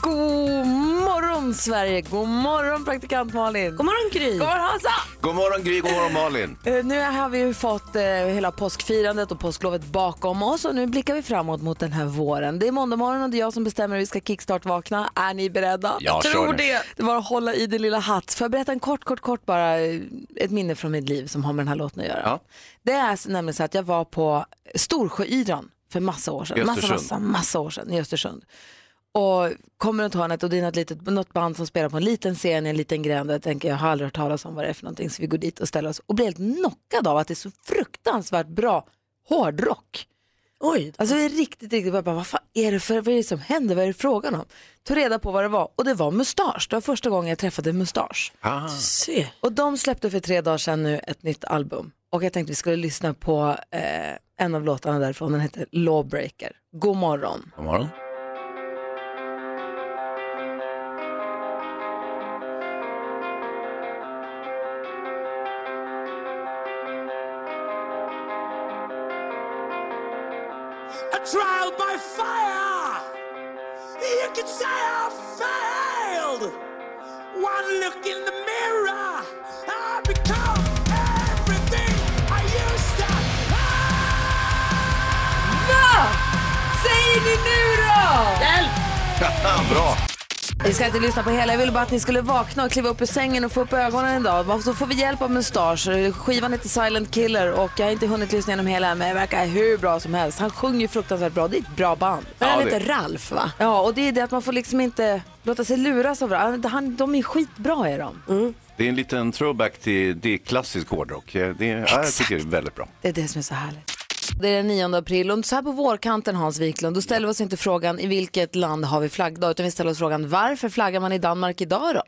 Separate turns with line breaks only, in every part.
God morgon Sverige, god morgon praktikant Malin. God morgon Gry. God morgon
Alltså!
Hansa.
God morgon Gry, god morgon Malin.
Eh, Nu har vi ju fått eh, hela påskfirandet och påsklovet bakom oss och nu blickar vi framåt mot den här våren. Det är måndag morgon och det är jag som bestämmer hur vi ska kickstart-vakna. Är ni beredda?
Ja, Jag tror kör nu. det.
Det var att hålla i din lilla hatt. Får jag berätta en kort, kort, kort bara eh, ett minne från mitt liv som har med den här låten att göra.
Ja.
Det är alltså nämligen så att jag var på Storsjöyran för massa år
I
sedan. Massa,
Östersund.
massa, massa år sedan i Östersund. Och kommer runt hörnet och det är något, litet, något band som spelar på en liten scen i en liten gränd och jag tänker jag har aldrig hört talas om vad det är för någonting så vi går dit och ställer oss och blir helt knockad av att det är så fruktansvärt bra hårdrock. Oj. Alltså det är riktigt, riktigt jag bara, vad fan är det för, vad är det som händer, vad är det frågan om? Tog reda på vad det var och det var mustasch, det var första gången jag träffade mustasch.
Ah.
Och de släppte för tre dagar sedan nu ett nytt album. Och jag tänkte vi skulle lyssna på eh, en av låtarna därifrån, den heter Lawbreaker. God morgon.
God morgon.
a trial by fire. You could say I failed. One look in the mirror, I become everything I used to.
Ah!
Säger ni nu då?
Bra.
Vi ska inte lyssna på hela, jag ville bara att ni skulle vakna och kliva upp ur sängen och få upp ögonen en dag. Så får vi hjälp av Mustasch. Skivan heter Silent Killer och jag har inte hunnit lyssna igenom hela men det verkar hur bra som helst. Han sjunger ju fruktansvärt bra, det är ett bra band.
Ja,
Han
det-
heter Ralf va?
Ja, och det är det att man får liksom inte låta sig luras av varandra. Han, de är skitbra är de.
Mm.
Det är en liten throwback till det är klassisk hårdrock. Eh, Det är, ja, jag tycker det är väldigt bra.
Det är det som är så härligt. Det är den 9 april och så här på vårkanten Hans Wiklund, då ställer vi oss inte frågan i vilket land har vi flaggdag utan vi ställer oss frågan varför flaggar man i Danmark idag då?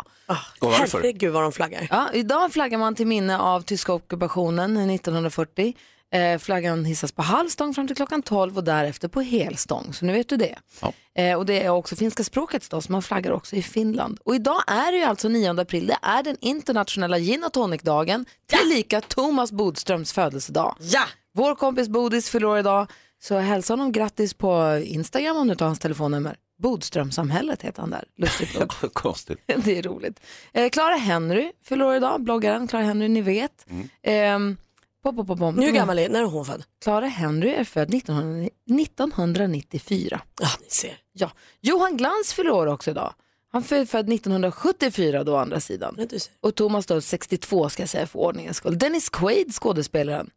Och varför?
Herregud vad de flaggar.
Ja, idag flaggar man till minne av tyska ockupationen 1940. Eh, flaggan hissas på halv stång fram till klockan 12 och därefter på hel stång, så nu vet du det.
Ja.
Eh, och det är också finska språkets dag, så man flaggar också i Finland. Och idag är det ju alltså 9 april, det är den internationella gin och tonic-dagen, tillika Thomas Bodströms födelsedag.
Ja!
Vår kompis Bodis förlorar idag, så hälsa honom grattis på Instagram om du tar hans telefonnummer. Bodströmsamhället heter han där, lustigt nog.
Konstigt.
Det är roligt. Eh, Clara Henry förlorar idag, bloggaren Clara Henry, ni vet. Ehm, pop, pop, pop, pop.
Nu hur gammal är När är hon född?
Clara Henry är född 1900 1994.
Ja, ni ser.
Ja. Johan Glans förlorar också idag. Han är född 1974 då, å andra sidan.
Ja, du ser.
Och Thomas då 62 ska jag säga för ordningens skull. Dennis Quaid, skådespelaren,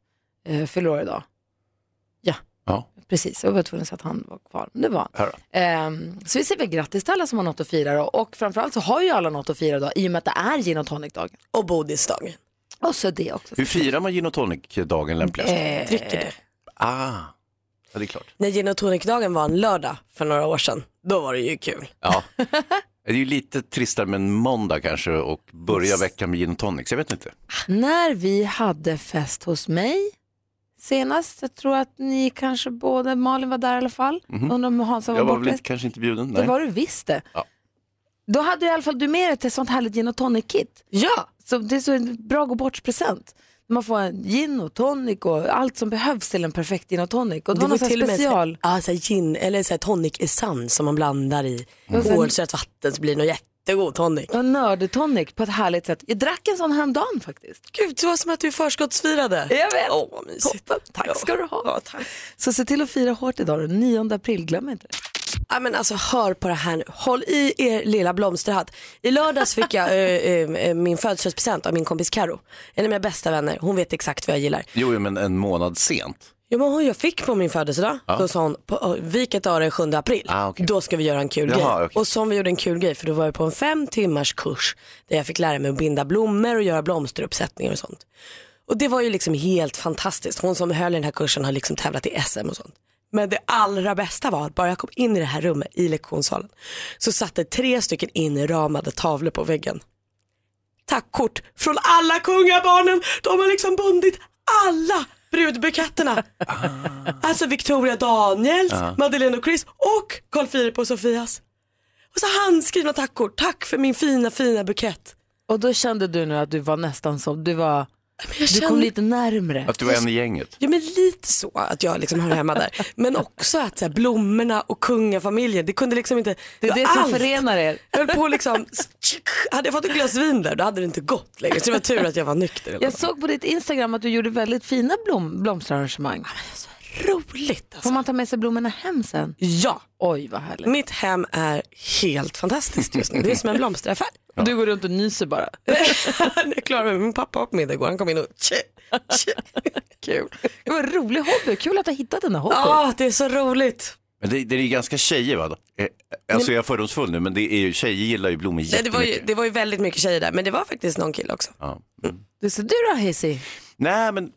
eh, förlorar idag. Ja,
Ja.
precis. Jag var tvungen att säga att han var kvar. Men det var han.
Här då.
Ehm, så vi säger väl grattis till alla som har något att fira då. Och framförallt så har ju alla något att fira då i och med att det är gin och tonic-dagen.
Och Bodisdagen.
Och så det också.
Hur firar man gin och tonic-dagen lämpligast?
Eh,
Dricker det.
Ah, ja, det är klart.
När gin och tonic-dagen var en lördag för några år sedan, då var det ju kul.
Ja. Det är ju lite tristare med en måndag kanske och börja veckan med gin och tonic. så Jag vet inte.
När vi hade fest hos mig senast, jag tror att ni kanske båda, Malin var där i alla fall. Undrar om Hansa var
Mhm. Jag var väl
bortrest.
inte, kanske inte bjuden.
Det
Nej.
var du visst det.
Ja.
Då hade du i alla fall du med dig ett sånt härligt gin och tonic-kit.
Ja!
Så det är så en bra gå bort-present. Man får en gin och tonic och allt som behövs till en perfekt gin och tonic. Och det, var någon sån
och med
special.
så här, ja, så här gin, eller så här tonic essens som man blandar i
sen-
kolsyrat vatten så blir det någon jättegod tonic.
Och nördtonic på ett härligt sätt. Jag drack en sån häromdagen faktiskt.
Gud, det var som att du förskottsfirade.
Jag vet.
Åh, vad mysigt.
Toppen. Tack ska du ha.
Ja, tack.
Så se till att fira hårt idag den 9 april, glöm inte det.
Ja, men alltså, hör på det här nu. Håll i er lilla blomsterhatt. I lördags fick jag eh, eh, eh, min födelsedagspresent av min kompis Karo. En av mina bästa vänner. Hon vet exakt vad jag gillar.
Jo, jo, men en månad sent.
Jo, men hon jag fick på min födelsedag. Då sa hon, på, oh, vilket dag är det 7 april?
Ah, okej.
Då ska vi göra en kul
Jaha,
grej.
okej.
Och som vi gjorde en kul grej, för då var jag på en fem timmars kurs där jag fick lära mig att binda blommor och göra blomsteruppsättningar och sånt. Och det var ju liksom helt fantastiskt. Hon som höll i den här kursen har liksom tävlat i SM och sånt. Men det allra bästa var att bara jag kom in i det här rummet i lektionssalen så satt det tre stycken inramade tavlor på väggen. Tackkort från alla kungabarnen. De har liksom bundit alla brudbuketterna.
Ah.
Alltså Victoria Daniels, Madeleine och Chris och Carl Philip och Sofias. Och så handskrivna tackkort. Tack för min fina fina bukett.
Och då kände du nu att du var nästan som, du var
jag
Du kom
känner-
lite närmre.
Att du var en i gänget.
Ja men lite så att jag liksom hör hemma där. Men också att så här, blommorna och kungafamiljen, det kunde liksom inte...
Det är det som förenar er.
Jag höll på liksom, hade jag fått ett glas vin där då hade det inte gått längre. Så det var tur att jag var nykter. i alla
Jag
fall.
såg på ditt Instagram att du gjorde väldigt fina blom, blomsterarrangemang.
Roligt
Får
alltså.
man ta med sig blommorna hem sen?
Ja,
Oj, vad härligt.
mitt hem är helt fantastiskt just nu. Det är som en blomsteraffär.
Du går runt och nyser bara.
jag klarar mig. Min pappa var på middag igår, han kom in och tje, tje. Kul.
Det var en rolig hobby. Kul att du har hittat den här hobbyn.
Ja, det är så roligt.
Men det, det är ju ganska tjejer va? Eh, Alltså jag är fördomsfull nu men det är ju, tjejer gillar ju blommor
Nej, det, var ju,
jättemycket.
det var ju väldigt mycket tjejer där, men det var faktiskt någon kille också.
Ja. Mm.
Du, så du då, Hissi?
Nej men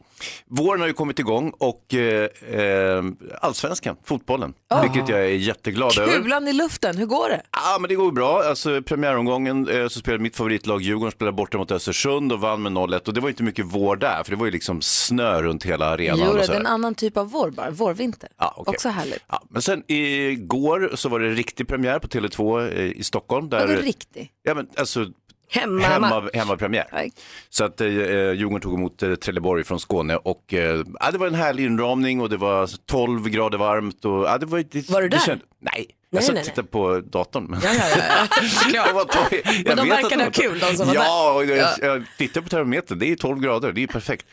våren har ju kommit igång och eh, eh, allsvenskan, fotbollen, vilket jag är jätteglad över.
Kulan i luften, hur går det?
Ja, men det går ju bra. Alltså, premiäromgången eh, så spelade mitt favoritlag Djurgården spelade borta mot Östersund och vann med 0-1 och det var inte mycket vår där för det var ju liksom snö runt hela arenan.
Jo,
och
det
så
är
här.
en annan typ av vår bara, vårvinter.
Ja, okej.
Också härligt.
Ja, men sen igår så var det riktig premiär på Tele2 eh, i Stockholm. Där,
Vadå riktig?
Ja, men alltså
Hemma.
hemma, hemmapremiär.
Nej.
Så att eh, eh, Djurgården tog emot eh, Trelleborg från Skåne och eh, ja, det var en härlig inramning och det var 12 grader varmt. Och, ja, det var, det,
Var du
det
där?
känd- nej. Jag satt
nej, nej.
och tittade på datorn. Men...
Såklart.
Jag var torr. Jag
de
vet
verkade
att
ha
var
kul, de som var
ja, och jag, jag tittar på termometern, det är 12 grader, det är perfekt.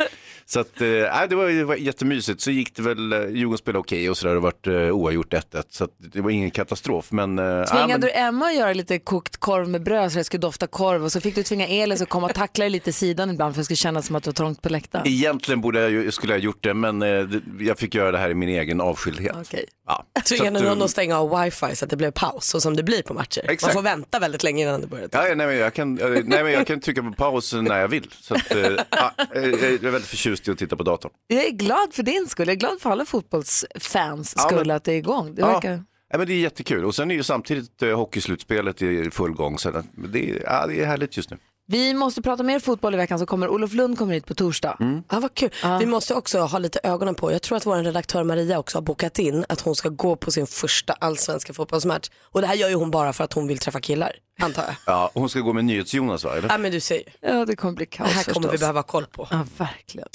Så att, eh, nej, det, var, det var jättemysigt. Så gick det väl, eh, Djurgården spelade okej och sådär, det vart eh, oavgjort 1-1. Så att, det var ingen katastrof. Men, eh, ja,
Tvingade
men,
du Emma att göra lite kokt korv med bröd så det skulle dofta korv och så fick du tvinga Elin att komma och tackla dig lite i sidan ibland för det skulle kännas som att du var trångt på läktaren.
Egentligen borde jag, ju- skulle jag ha gjort det, men eh, det- jag fick göra det här i min egen avskildhet.
Okej.
Ja. Så
Tvingade
att, eh,
någon att stänga av wifi så att det blev paus, så som det blir på matcher. Man
Exakt.
får vänta väldigt länge innan det börjar.
Ja, ja, nej, men jag kan, eh, nej, men jag kan trycka på paus när jag vill. Så att, eh, ja, eh, jag är väldigt förtjust i att titta på datorn.
Jag är glad för din skull, jag är glad för alla fotbollsfans
Ja,
skull
men-
att det är igång. Det
Ja.
verkar...
Ja, men det är jättekul och sen är ju samtidigt eh, hockeyslutspelet i full gång. Så att- men det, är, ja, det är härligt just nu.
Vi måste prata mer fotboll i veckan så kommer Olof Lund kommer hit på torsdag.
Mm. Ja, vad kul. Vi måste också ha lite ögonen på, jag tror att vår redaktör Maria också har bokat in att hon ska gå på sin första allsvenska fotbollsmatch. Och det här gör ju hon bara för att hon vill träffa killar, antar jag.
Ja, hon ska gå med NyhetsJonas va? Eller?
Ja men du ser ju,
Ja, det kommer bli kaos
det här kommer vi
förstås.
behöva ha koll på.
Ja, verkligen.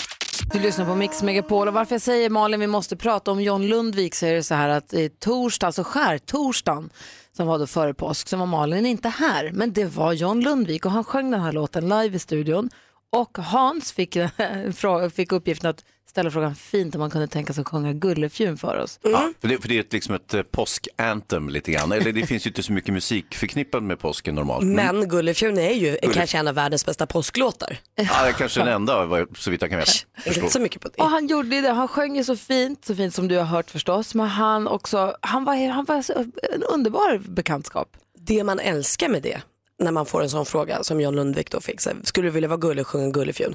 Du lyssnar på Mix Megapol och varför jag säger Malin vi måste prata om John Lundvik så är det så här att i torsdag, alltså skärtorsdagen som var då före påsk så var Malin inte här men det var John Lundvik och han sjöng den här låten live i studion och Hans fick, frå- fick uppgiften att ställa frågan fint om man kunde tänka sig att sjunga Gullefjun för oss.
Mm.
Ja, för, det, för det är ett, liksom ett eh, påskanthem lite grann. Eller det finns ju inte så mycket musik förknippat med påsken normalt.
Men Gullefjun är ju kanske en av världens bästa påsklåtar.
Ja, det är kanske den enda vad jag- så vitt jag kan veta.
Jag tänker
Förstå.
inte så mycket på
Och
det.
han gjorde ju det, han sjöng ju så fint, så fint som du har hört förstås, men han också, han var, han var så- en underbar bekantskap.
Det man älskar med det, när man får en sån fråga som John Lundvik då fick, så här, skulle du vilja vara gullig och sjunga Gullefjun?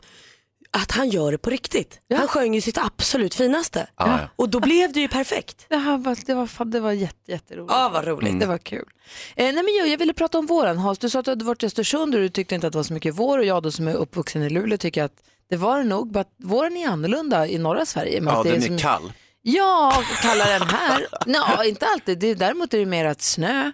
Att han gör det på riktigt. Han sjöng ju sitt absolut finaste.
Ja, ja.
Och då blev det ju perfekt.
Det, här var, det var, fan, det var jätte, jätteroligt. Mm.
Ja, vad roligt.
Det var kul. Eh, nej, men jag, jag ville prata om våren. Hans, du sa att du hade varit i Östersund och du tyckte inte att det var så mycket vår och jag då som är uppvuxen i Luleå tycker att det var det nog. bara att våren är annorlunda i norra Sverige. men
ja,
att det
den
som-
är kall.
Ja, kallare än här. Nå, inte alltid. Det, däremot är det mer att snö.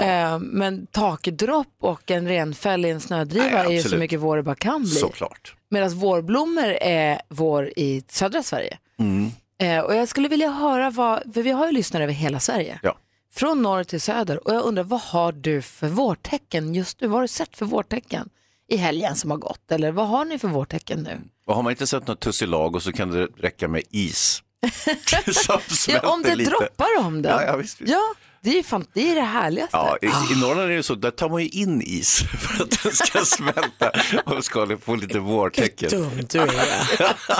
Eh, men takdropp och en renfäll i en snödriva
Nej,
är ju så
absolut.
mycket vår det bara kan bli.
Såklart.
Medan vårblommor är vår i södra Sverige.
Mm.
Eh, och jag skulle vilja höra vad, för vi har ju lyssnare över hela Sverige.
Ja.
Från norr till söder. Och jag undrar, vad har du för vårtecken just nu? Vad har du sett för vårtecken i helgen som har gått? Eller vad har ni för vårtecken nu?
Och har man inte sett något tussilago så kan det räcka med is.
Ja,
Som
om
smälter
det
lite.
droppar om det.
Ja, ja, visst, visst.
Ja, det är ju fan, det, är det härligaste.
Ja, i, I Norrland är det så, där tar man ju in is för att den ska smälta och ska få lite vårtecken.
Dum du är.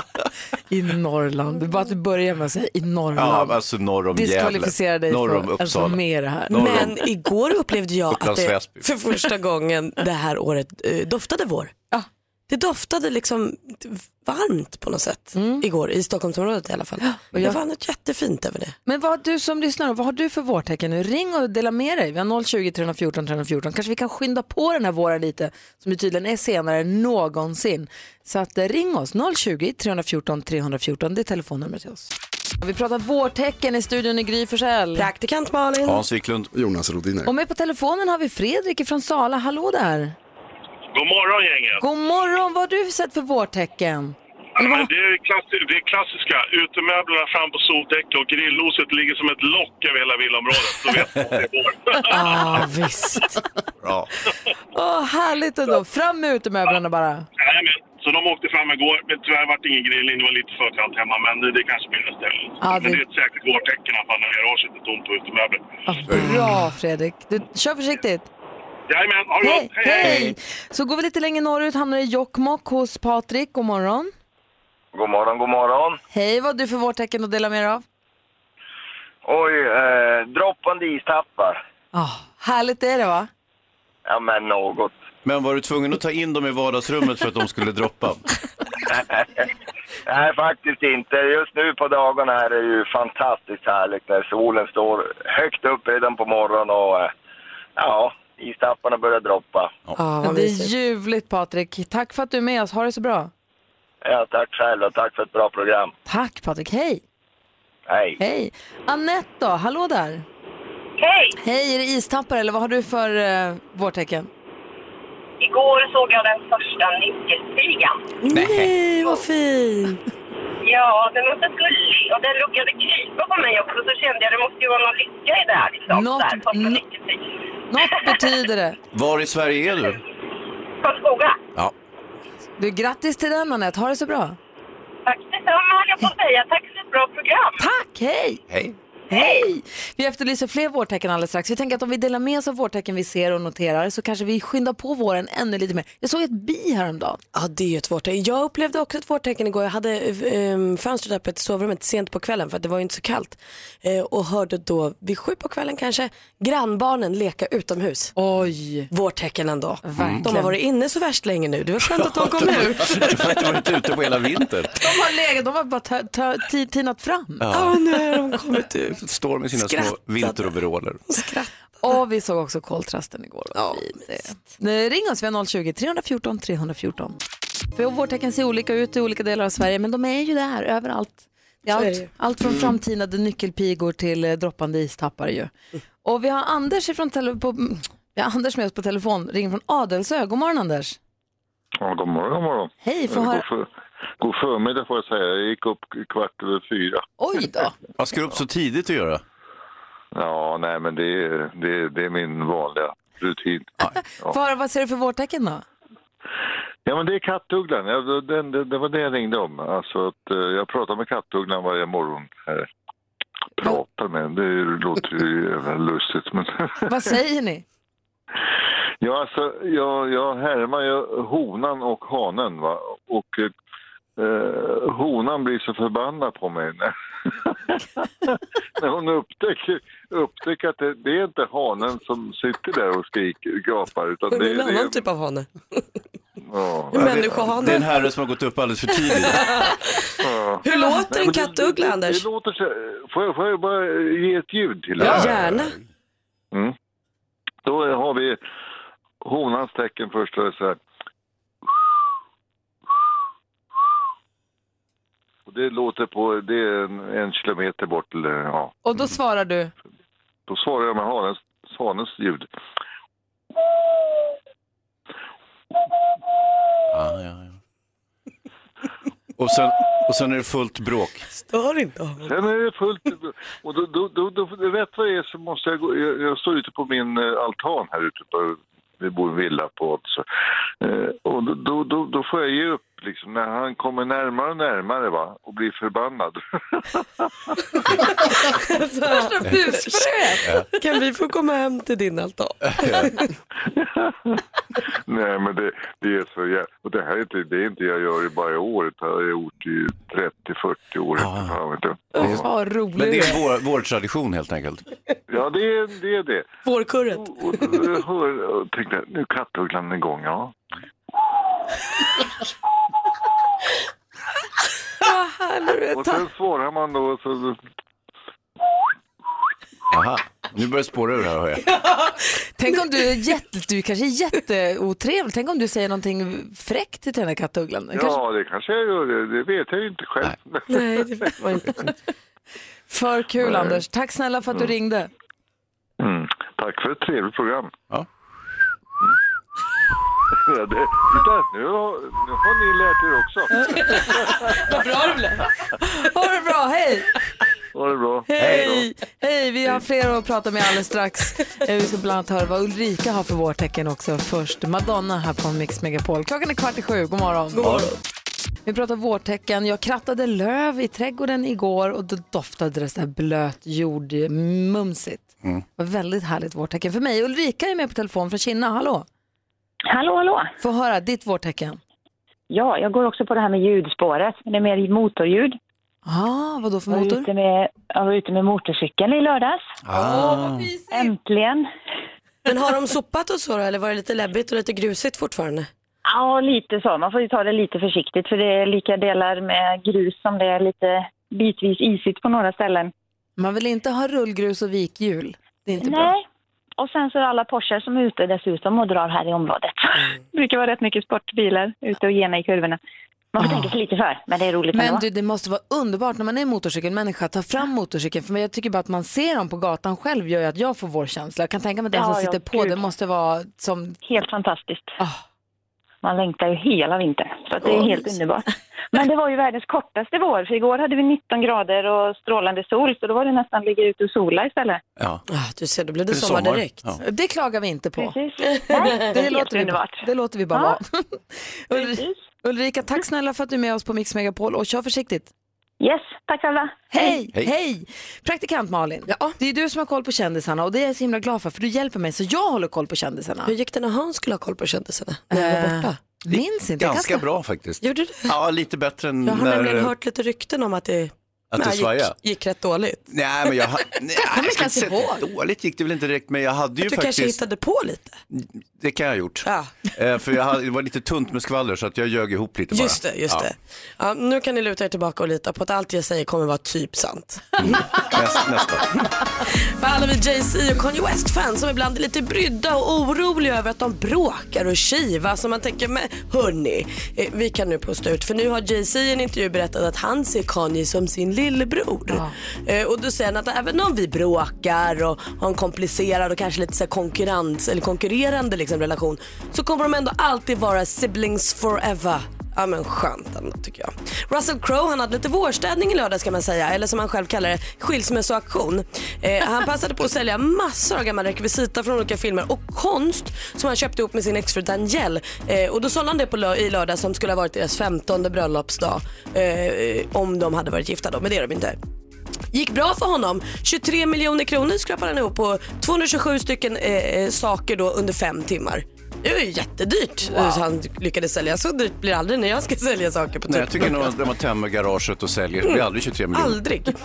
I Norrland. Bara att du börjar med att säga i
Ja,
Mm.
Norrland.
alltså norr om
Diskvalificera
Gävle,
dig
norr om
för att få
Uppsala.
med det här.
Norr om-
Men igår upplevde jag att
Upplands
det
Väsby.
för första gången det här året eh, doftade vår.
Ja.
Det doftade liksom varmt på något sätt igår i Stockholmsområdet i alla fall. Det
Mm. jag-
var något jättefint över det.
Men vad du som lyssnar, vad har du för vårtecken nu? Ring och dela med dig. Vi har 020 314 314. Kanske vi kan skynda på den här våren lite, som ju tydligen är senare än någonsin. Så att, eh, ring oss, 020 314 314. Det är telefonnumret till oss. Och Vi pratar vårtecken i studion i Gry Forssell.
Praktikant Malin.
Hans Wiklund.
Jonas Rodiner.
Och med på telefonen har vi Fredrik från Sala. Hallå där!
God morgon gänget!
God morgon, vad har du sett för vårtecken?
Nej,
Eller vad?
Det är, klass, det är klassiska. Utemöblerna fram på soldäck och grilloset ligger som ett lock över hela villaområdet. Då vet man att det är vår.
Ja, visst.
Bra.
Åh, härligt ändå. Fram med utemöblerna bara.
Nej, men, så de åkte fram igår, men tyvärr vart det ingen grillning. Det var lite för kallt hemma, men det, det kanske blir nästa helg.
Ja,
Men
det-
det är ett säkert vårtecken i alla fall när garaget är tomt på utemöbler.
Ja, bra Fredrik. Du, kör försiktigt.
Jajamän, ha det
Hej,
gott!
hej! Så går vi lite längre norrut, hamnar i Jokkmokk hos Patrik. God morgon.
God morgon, god morgon.
Hej, vad har du för vårtecken att dela med dig av?
Oj, eh, droppande istappar.
Oh, härligt är det va?
Ja, men något.
Men var du tvungen att ta in dem i vardagsrummet för att de skulle droppa?
Nej, faktiskt inte. Just nu på dagarna här är det ju fantastiskt härligt när solen står högt upp redan på morgonen och eh, ja, istapparna börjar droppa.
Ja, vad
det är
mysigt.
ljuvligt Patrik. Tack för att du är med oss. Ha det så bra.
Ja, tack själv och tack för ett bra program.
Tack Patrik. Hej!
Hej!
Hej! Anette då, hallå där.
Hej!
Hej, är det istappar eller vad har du för eh, vårtecken?
Igår såg jag den första nyckelpigan.
Nej, vad fint!
Ja, den var så gullig och den råkade krypa på mig också så kände jag det måste ju vara någon lycka i det här liksom.
Något-
Där, första
n-
nyckelpigan.
Något betyder det.
Var i Sverige är du?
Karlskoga.
Ja.
Du, grattis till den Anette. Ha det så bra.
Tack detsamma höll jag på att säga. Tack för ett bra program.
Tack, hej!
Hej.
Hej! Vi efterlyser fler vårtecken alldeles strax. Vi tänker att om vi delar med oss av vårtecken vi ser och noterar så kanske vi skyndar på våren ännu lite mer. Jag såg ett bi häromdagen.
Ja, det är ju ett vårtecken. Jag upplevde också ett vårtecken igår. Jag hade eh, fönstret öppet i sovrummet sent på kvällen för att det var ju inte så kallt. Eh, och hörde då vid sju på kvällen kanske grannbarnen leka utomhus.
Oj!
Vårtecken ändå. De har varit inne så värst länge nu. Det var skönt att de kom
Du
ut.
har inte varit ute på hela vintern.
De har legat, de har bara tö- tö- ti- tinat fram.
Ja, nu har de kommit ut.
Står med sina små
Skrattade.
vinteroveraller.
Skratt.
Och vi såg också koltrasten igår. Ja, nu, ring oss, vi har 020 314 314. För vårtecken ser olika ut i olika delar av Sverige, men de är ju där överallt. Det är
Så är
allt,
det ju.
allt från framtinade nyckelpigor till eh, droppande istappar ju. Och vi har Anders, ifrån tele- på, mm, vi har Anders med oss på telefon, ringer från Adelsö. God morgon Anders.
Ja, god morgon, god morgon.
Hej, får
Eh,
höra.
God, för, god förmiddag får jag säga. Jag gick upp kvart över fyra.
Oj då.
Vad ska du upp så tidigt att göra?
Ja, nej men det, är- det, är- det är min vanliga rutin.
Får höra, vad ser du för vårtecken då?
Ja, men det är kattugglan. Ja, det, det, det var det jag ringde om. Alltså att eh, jag pratar med kattugglan varje morgon. Här. Pratar med den. Det låter ju jävla lustigt. Men
Vad säger ni?
Ja, alltså, jag, jag härmar ju honan och hanen. Va? Och eh, honan blir så förbannad på mig när, när hon upptäcker, upptäcker att det, det är inte hanen som sitter där och skriker och gapar. Utan
Det
det,
är en
det,
annan typ av hane.
ja,
En
Det är en
människohane.
herre som har gått upp alldeles för tidigt.
Mm.
ja.
Hur låter
Nej,
en
men det- det-
kattuggla,
det-
Anders?
Det låter så, får, jag, får jag bara ge ett ljud till det här? Mm.
Gärna.
Då har vi honans tecken först. Då är det så här. Och det låter på, det är en, en kilometer bort. Eller, ja.
Och då svarar du?
Då svarar jag med hanens, hanens ljud.
Ja, ja, ja. Och sen, och sen är det fullt bråk.
Stör inte honom.
Sen är det fullt. Och då, då, då, då, rätt vad det är så måste jag gå, jag, jag står ute på min eh, altan här ute på, vi bor i en villa på så, eh, Och då, då, då, då får jag ge upp liksom när han kommer närmare och närmare va och blir förbannad.
Värsta busfröet!
Kan vi få komma hem till din altan?
Nej, men det, det är så jä- Och det här är inte, det är inte jag gör i bara i år, utan jag har gjort i 30-40 år.
Ja.
Ja, vet du.
Vad rolig
Men
du är.
det är vår, vår tradition helt enkelt.
ja det, är, det är det.
Fårkurret.
Och, och, jag hör, och tänkte, nu är kattugglan igång, ja. Och sen svarar man då, så,
Aha. Nu börjar det spåra ur här hör jag.
Tänk om du är jätte, du kanske är jätteotrevlig. Tänk om du säger någonting fräckt till den här kattugglan. Den Kanske
ja det kanske jag gör, det, det vet jag ju inte själv.
Nej, det var inte.
för kul Anders. Tack snälla för att du ringde.
Mm. Tack för ett trevligt program.
Ja.
Ja, det, titta, nu, har- nu har ni lärt er också.
Vad bra det blev.
Ha det bra, hej!
Ha det bra.
Hej! Hej, vi har fler att prata med alldeles strax. Eh, Vi ska bland annat höra vad Ulrika har för vårtecken också. Först Madonna här på Mix Megapol. Klockan är kvart i sju, god morgon. God morgon. Vi pratar vårtecken. Jag krattade löv i trädgården igår och då doftade det så här blöt jord, mumsigt.
Mm.
Det var väldigt härligt vårtecken för mig. Ulrika är med på telefon från Kinna, hallå.
Hallå, hallå!
Få höra ditt vårtecken.
Ja, jag går också på det här med ljudspåret, men det är mer motorljud.
Ah, vad då för
Jag var
motor?
ute med, jag var ute med motorcykeln i lördags.
Ah.
Äntligen!
Men har de sopat och så då, eller var det lite läbbigt och lite grusigt fortfarande?
Ja, lite så. Man får ju ta det lite försiktigt för det är lika delar med grus som det är lite bitvis isigt på några ställen.
Man vill inte ha rullgrus och vikhjul. Det är inte bra.
Nej. Och sen så är det alla Porsche som är ute dessutom och drar här i området.
Mm.
Det brukar vara rätt mycket sportbilar ute och gena i kurvorna. Man får tänka sig lite för, men det är roligt
Ah. Men
ändå.
du, det måste vara underbart när man är motorcykelmänniska, ta fram motorcykeln. För jag tycker bara att man ser dem på gatan själv gör ju att jag får vår känsla. Jag kan tänka mig att den som
Ja, ja,
sitter på,
gud.
det måste vara som...
Helt fantastiskt.
Ah.
Man längtar ju hela vintern, så att det är helt underbart. Men det var ju världens kortaste vår, för igår hade vi 19 grader och strålande sol, så då var det nästan ligga ute och sola istället.
Ja.
Ah, du ser, då blev det,
Det är
sommar,
sommar.
direkt.
Ja.
Det klagar vi inte på.
Precis. Nej, det är helt
låter vi, bara-
underbart.
det låter vi bara
Ja.
vara. Ulri- Ulrika, tack snälla för att du är med oss på Mix Megapol och kör försiktigt.
Yes, tack alla.
Hej, hej!
Hej.
Praktikant Malin, det är du som har koll på kändisarna och det är jag så himla glad för, för du hjälper mig så jag håller koll på kändisarna.
Hur gick det när han skulle ha koll på kändisarna? När jag var
Eh,
borta?
Minns inte.
Ganska bra faktiskt.
Gjorde du?
Ja, lite bättre än
Jag har nämligen
när,
hört lite rykten om att det,
att det
Nej,
svajade.
gick, gick rätt dåligt.
Nej, men jag, ha- nej, jag kan inte säga att det dåligt gick det väl inte direkt, men jag hade ju
Du kanske
faktiskt,
hittade på lite?
det kan jag ha gjort.
Ja,
Eh, för jag hade, det var lite tunt med skvaller så att jag ljög ihop lite bara.
just det. Just
Ja,
det. Ja, nu kan ni luta er tillbaka och lita på att allt jag säger kommer vara typ sant.
Mm. Näst, nästan.
För alla vi Jay-Z och Kanye West-fans som ibland är lite brydda och oroliga över att de bråkar och kivas. Och man tänker, men hörni, eh, vi kan nu pusta ut. För nu har Jay-Z i en intervju berättat att han ser Kanye som sin lillebror. Eh, Och då säger han att även om vi bråkar och har en komplicerad och kanske lite så här konkurrens, eller konkurrerande liksom relation så kommer de ändå alltid vara siblings forever. Ja men skönt ändå tycker jag. Russell Crowe han hade lite vårstädning i lördags kan man säga, eller som han själv kallar det, skilsmässoauktion. Eh, han passade på att sälja massor av gamla rekvisita från olika filmer och konst som han köpte ihop med sin exfru Danielle. Eh, och då sålde han det på lö- i lördags som skulle ha varit deras 15 bröllopsdag eh, om de hade varit gifta då, men det är de inte gick bra för honom. 23 miljoner kronor skrapade han ihop på 227 stycken eh, eh, saker då under fem timmar. Det var ju jättedyrt eh, så han lyckades sälja. Så dyrt blir det aldrig när jag ska sälja saker på
Nej,
typ
jag tycker nog att när man tömmer garaget och säljer, det blir aldrig
Mm.
23 miljoner.
Aldrig.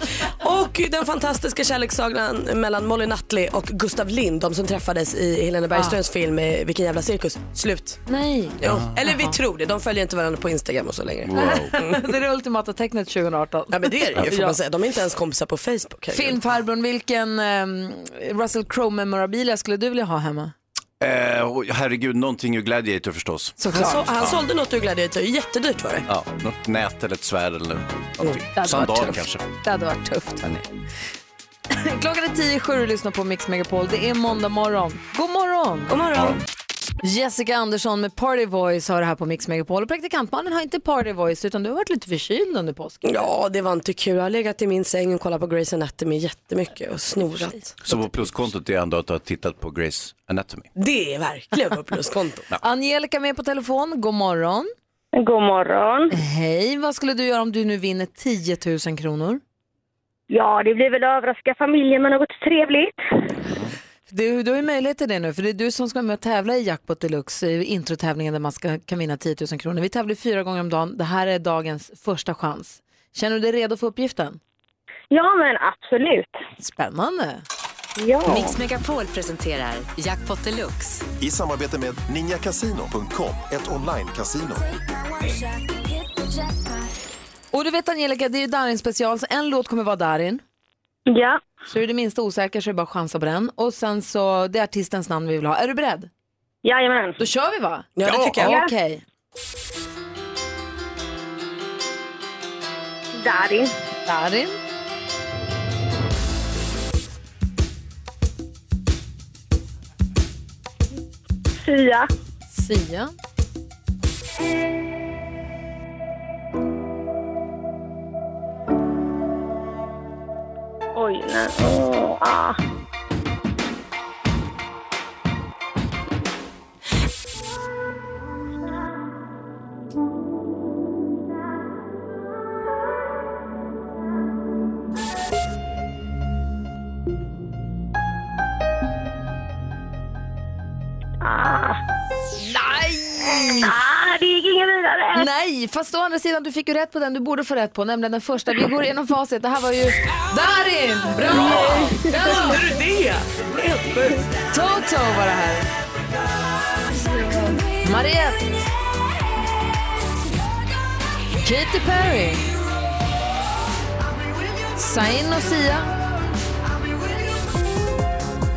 Och den fantastiska kärlekssagan mellan Molly Nutley och Gustav Lind, de som träffades i Helena Bergströms film eh, Vilken jävla cirkus. Slut.
Ah. Nej.
Jo. Eller vi tror det, de följer inte varandra på Instagram och så längre.
Wow.
det är det ultimata tecknet 2018.
Ja men det är det ju får man säga. De är inte ens kompisar på Facebook. herregud.
Filmfarbrorn, vilken ehm, Russell Crowe-memorabilia skulle du vilja ha hemma?
Eh, och herregud, någonting ur Gladiator förstås.
Han, så, Ah, han sålde något ur Gladiator, jättedyrt var det.
Ja, något nät eller ett svärd eller någonting.
Mm. hade varit
Sandal
tufft.
kanske.
Det hade varit tufft. Hörni. Klockan är tio i sju och lyssnar på Mix Megapol. Det är måndag morgon. God morgon!
God morgon.
Jessica Andersson med Party Voice har det här på Mix Megapol. Och praktikantmannen har inte Party Voice utan du har varit lite förkyld under påsken.
Ja, det var inte kul. Jag har legat i min säng och kollat på Grey's Anatomy jättemycket och snorat.
Så på pluskontot är ändå att du har tittat på Grace Anatomy.
Det är verkligen på pluskonto.
Angelica är med på telefon. God morgon!
God morgon.
Hej! Vad skulle du göra om du nu vinner 10 000 kronor?
Ja, det blir väl att överraska familjen med något trevligt.
Du, du har ju möjlighet till det nu, för det är du som ska vara med och tävla i Jackpot Deluxe, i introtävlingen där man ska, kan vinna 10 000 kronor. Vi tävlar fyra gånger om dagen. Det här är dagens första chans. Känner du dig redo för uppgiften?
Ja, men absolut.
Spännande!
Ja.
Mix Megapol presenterar Jackpot Deluxe.
I samarbete med ninjakasino.com, ett online-casino.
Och du vet Angelica, det är ju Darin special, så en låt kommer vara Darin.
Ja.
Så är du det minsta osäker så är det bara att chansa på den. Och sen så, det är artistens namn vi vill ha. Är du beredd?
Jajamän.
Då kör vi va?
Ja, det tycker jag.
Ja.
Okej.
Darin.
Darin.
Sia.
Sia.
Oj, nej. Åh, ah.
Ah.
Nej!
Ah, det gick ingen vidare.
Nej, fast å andra sidan, du fick ju rätt på den du borde få rätt på, nämligen den första. Vi går igenom facit. Det här var ju Darin! Bra!
Hur kunde
du det? Toto var det här. Mariette. Katy Perry. Zayn och Sia.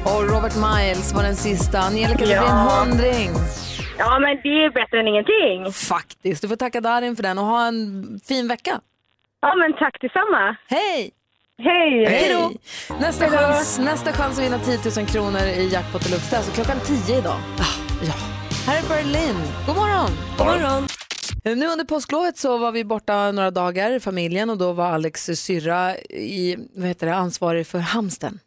Och Robert Miles var den sista. Angelica, det blir en
Ja.
hundring.
Ja, men det är bättre än ingenting.
Faktiskt. Du får tacka Darin för den och ha en fin vecka.
Ja, men tack detsamma.
Hej!
Hej!
Hej då! Nästa chans, nästa chans att vinna 10 000 kronor i Jackpot Deluxe, det är alltså klockan 10 idag. Ah, ja. Här är Berlin. God morgon!
God morgon.
Nu under påsklovet så var vi borta några dagar i familjen och då var Alex syrra i, vad heter det, ansvarig för hamsten.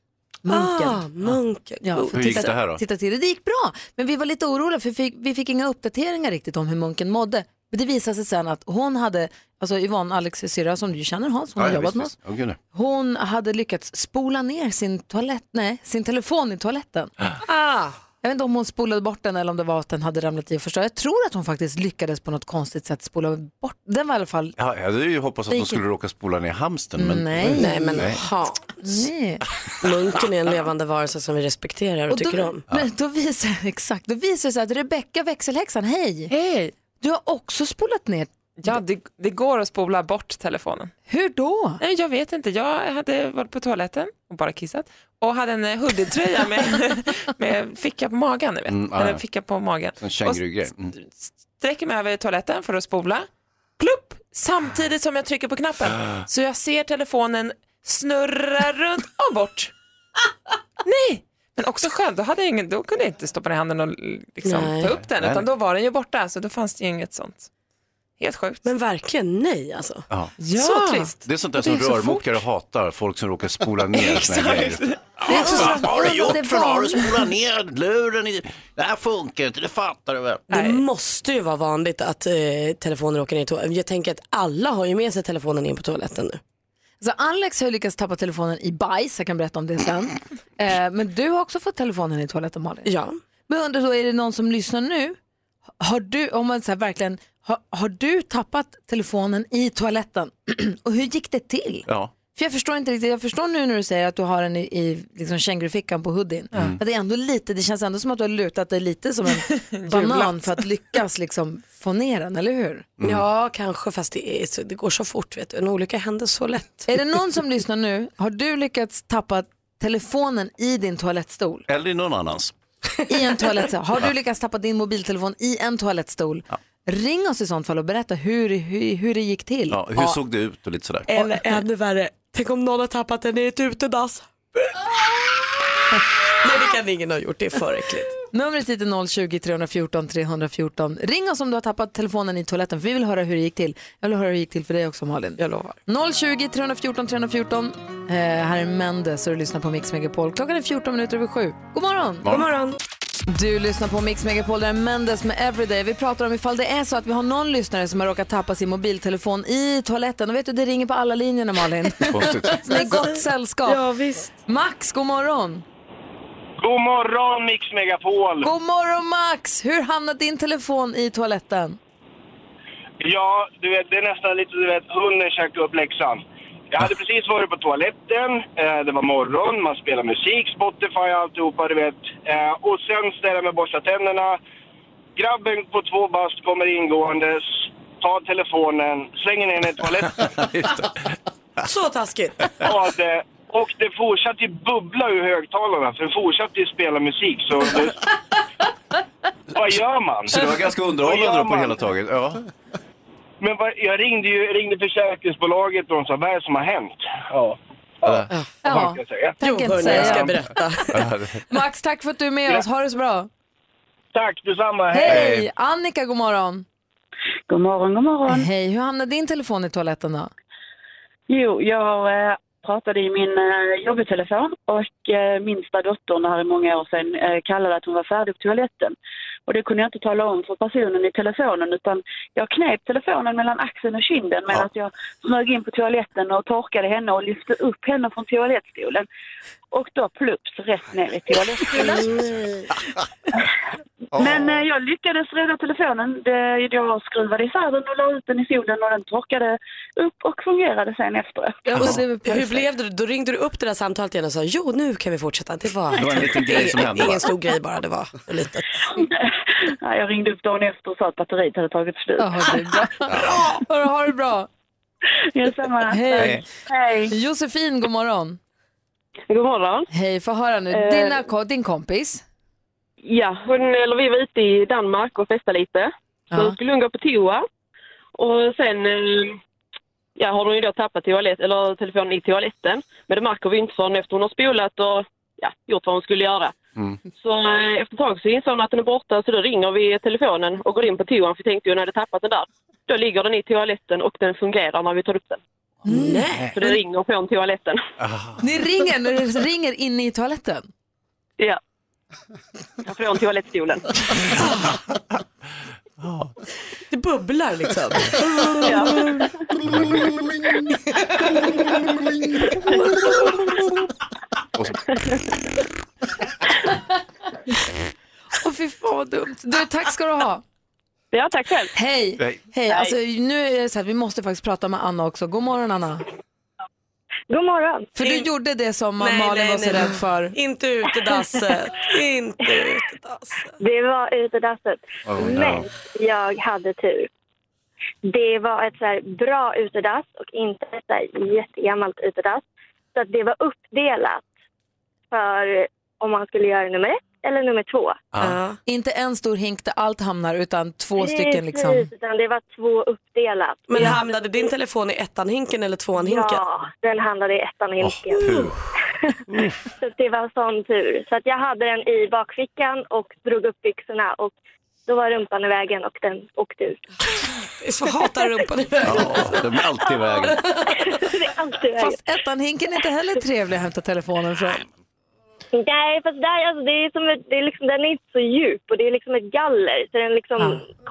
Munken.
Ah, munken.
Ja,
Hur
för
gick
titta,
det här då?
Titta till det. det gick bra, men vi var lite oroliga för vi fick, vi fick inga uppdateringar riktigt om hur munken mådde. Men det visade sig sen att hon hade, alltså Yvonne, Alex syrra som du känner Hans, hon har jobbat med oss.
Åh, gud, nej.
Hon hade lyckats spola ner sin, toalett, nej, sin telefon i toaletten.
Ah.
Jag vet inte om hon spolade bort den eller om det var att den hade ramlat i och förstört. Jag tror att hon faktiskt lyckades på något konstigt sätt spola bort den. var i alla fall...
Ja, jag hade ju hoppats att
Det
de
gick-
skulle råka spola ner hamsten. Men...
Nej. Nej, men
Hans.
Nej.
Munken är en levande varelse som vi respekterar och,
då,
tycker om.
Men då visar, exakt, då visar det sig att Rebecka växelhäxan, hej! Hej! Du har också spolat ner.
Ja, det, det går att spola bort telefonen.
Hur då?
Nej, jag vet inte. Jag hade varit på toaletten och bara kissat och hade en eh, hoodie-tröja med, med ficka på magen. Ni vet.
Mm, ja,
Eller
ja.
ficka på magen.
En
Och
kängurugrej. Mm.
sträcker mig över toaletten för att spola. Plupp! Samtidigt som jag trycker på knappen. Så jag ser telefonen snurra runt och bort. Nej! Men också skönt, då, hade jag ingen, då kunde jag inte stoppa ner handen och liksom,
Nej.
ta upp den.
Nej.
Utan då var den ju borta, så då fanns det ju inget sånt. Helt sjukt.
Men verkligen nej alltså.
Ja.
Ja. Så trist.
Det är sånt där
Och det
som
är så
rörmokare hatar, folk som råkar spola ner såna här
Exakt.
grejer.
Det är
Vad fan
så-
har du
det
gjort
är
för något? Har du
vanligt.
spolat ner luren i... Det här funkar inte, det fattar du väl?
Det måste ju vara vanligt att eh, telefoner åker ner i toaletten. Jag tänker att alla har ju med sig telefonen in på toaletten nu.
Så Alex har ju lyckats tappa telefonen i bajs, jag kan berätta om det sen. eh, men du har också fått telefonen i toaletten Malin.
Ja.
Men jag undrar då, är det någon som lyssnar nu? Har du, om man så här, verkligen, har, har du tappat telefonen i toaletten? Och hur gick det till?
Ja.
För jag förstår inte riktigt, jag förstår nu när du säger att du har den i, i liksom kängurufickan på hoodien.
Mm.
Att det, är ändå lite, det känns ändå som att du har lutat dig lite som en banan
Hjulat.
för att lyckas liksom få ner den, eller hur?
Mm.
Ja, kanske, fast det, är så, det går så fort. Vet du. En olycka händer så lätt.
Är det någon som lyssnar nu, har du lyckats tappa telefonen i din toalettstol?
Eller i någon annans.
I en toalettstol? Har du
Ja.
lyckats tappa din mobiltelefon i en toalettstol? Ring oss i sånt fall och berätta hur, hur, hur det gick till.
Ja, hur såg det ut och lite sådär.
Eller ännu värre, tänk om någon har tappat den i ett utedass. Nej, det kan ingen ha gjort. Det är för äckligt.
Numret hit är 020-314 314. Ring oss om du har tappat telefonen i toaletten för vi vill höra hur det gick till. Jag vill höra hur det gick till för dig också Malin.
Jag lovar.
020 314 314. Eh, här är Mendes och du lyssnar på Mix Megapol. Klockan är 14 minuter över sju. God morgon!
God morgon.
Du lyssnar på Mix Megapol, där är Mendes med Everyday. Vi pratar om ifall det är så att vi har någon lyssnare som har råkat tappa sin mobiltelefon i toaletten. Och vet du, det ringer på alla linjerna Malin.
Konstigt.
Så det är gott sällskap.
Ja,
visst.
Max, god morgon!
God morgon Mix Megapol!
God morgon Max! Hur hamnade din telefon i toaletten?
Ja, du vet, det är nästan lite du vet, hunden käkade upp läxan. Jag hade precis varit på toaletten, eh, det var morgon, man spelar musik, Spotify och alltihopa du vet. Eh, och sen ställer jag mig och borstar tänderna. Grabben på två bast kommer ingåendes, tar telefonen, slänger ner den i toaletten.
Så taskigt!
Ja, det, och det fortsatte ju bubbla ur högtalarna, för det fortsatte ju spela musik. Så det, vad gör man?
Så det var ganska
Vad
underhållande
gör
då på
man?
hela taget. Ja.
Men vad, jag ringde ju ringde försäkringsbolaget och de sa vad är det som har hänt? Ja.
Ja.
Vad fan ska jag säga?
tänker inte hörni, säga. jag ska
berätta.
Max, tack för att du är med oss. Ha det så bra.
Tack detsamma.
Hej!
Hej.
Annika, god morgon.
God morgon, god morgon.
Hej, hur hamnade din telefon i toaletten då?
Jo, jag eh, pratade i min eh, jobbtelefon och eh, minsta dottern här i många år sedan eh, kallade att hon var färdig på toaletten. Och det kunde jag inte tala om för personen i telefonen utan jag knep telefonen mellan axeln och kinden medan jag smög in på toaletten och torkade henne och lyfte upp henne från toalettstolen. Och då plups rätt ner i toalettstolen. Men eh, jag lyckades rädda telefonen. Det, jag skruvade isär den och la ut den i solen och den torkade upp och fungerade sen efter.
Och så, hur blev det? Då ringde du upp det där samtalet igen och sa jo nu kan vi fortsätta. Det var,
Det var en liten grej som hände, va?
Ingen stor grej bara, det var litet.
Ja, jag ringde upp dagen efter och sa att batteriet hade tagit slut.
Hörru, ha det bra.
Detsamma.
Hej.
Hej.
Josefin, god morgon.
God morgon.
Hej, få höra nu.
Eh.
Dina, ko- din kompis?
Ja, hon, eller vi var ute i Danmark och festade lite. Så skulle hon gå på toa. Och sen eh, ja, har hon ju då tappat toalett, eller telefonen i toaletten. Men det märker vi inte förrän efter hon har spolat och ja, gjort vad hon skulle göra. Så eh, efter ett tag så inser hon att den är borta så då ringer vi telefonen och går in på toan för vi tänkte ju hon hade tappat den där. Då ligger den i toaletten och den fungerar när vi tar upp den.
Nej. Ah.
Så det ringer från toaletten.
Ni ringer när det ringer inne i toaletten?
Ja. Från toalettstolen.
Det bubblar liksom.
Och så,
Åh fy fan vad dumt. Du, tack ska du ha.
Ja, tack själv.
Hej.
Hej.
Hej. Alltså, nu är det så här, vi måste faktiskt prata med Anna också. God morgon Anna.
God morgon.
För du gjorde det som
Nej,
Malin
nej,
var så
nej.
rädd för.
Inte utedassen. Inte
utedasset. Det var utedasset.
Oh, no.
Men jag hade tur. Det var ett så här bra utedass och inte ett så här jättegammalt utedass. Så att det var uppdelat för om man skulle göra nummer ett eller nummer två.
Inte en stor hink där allt hamnar utan två
Precis,
stycken liksom.
Utan det var två uppdelat.
Men hamnade din telefon i ettan-hinken eller tvåan-hinken?
Ja, den handlade i ettan hinken. så att det var sån tur. Så att jag hade den i bakfickan och drog upp byxorna och då var rumpan i vägen och den åkte ut.
Så hatar rumpan i
ja, de är alltid i vägen.
Fast ettan-hinken är inte heller trevlig att hämta telefonen från.
Nej, fast där, alltså, det är som ett, det är liksom, den är inte så djup och det är liksom ett galler så den liksom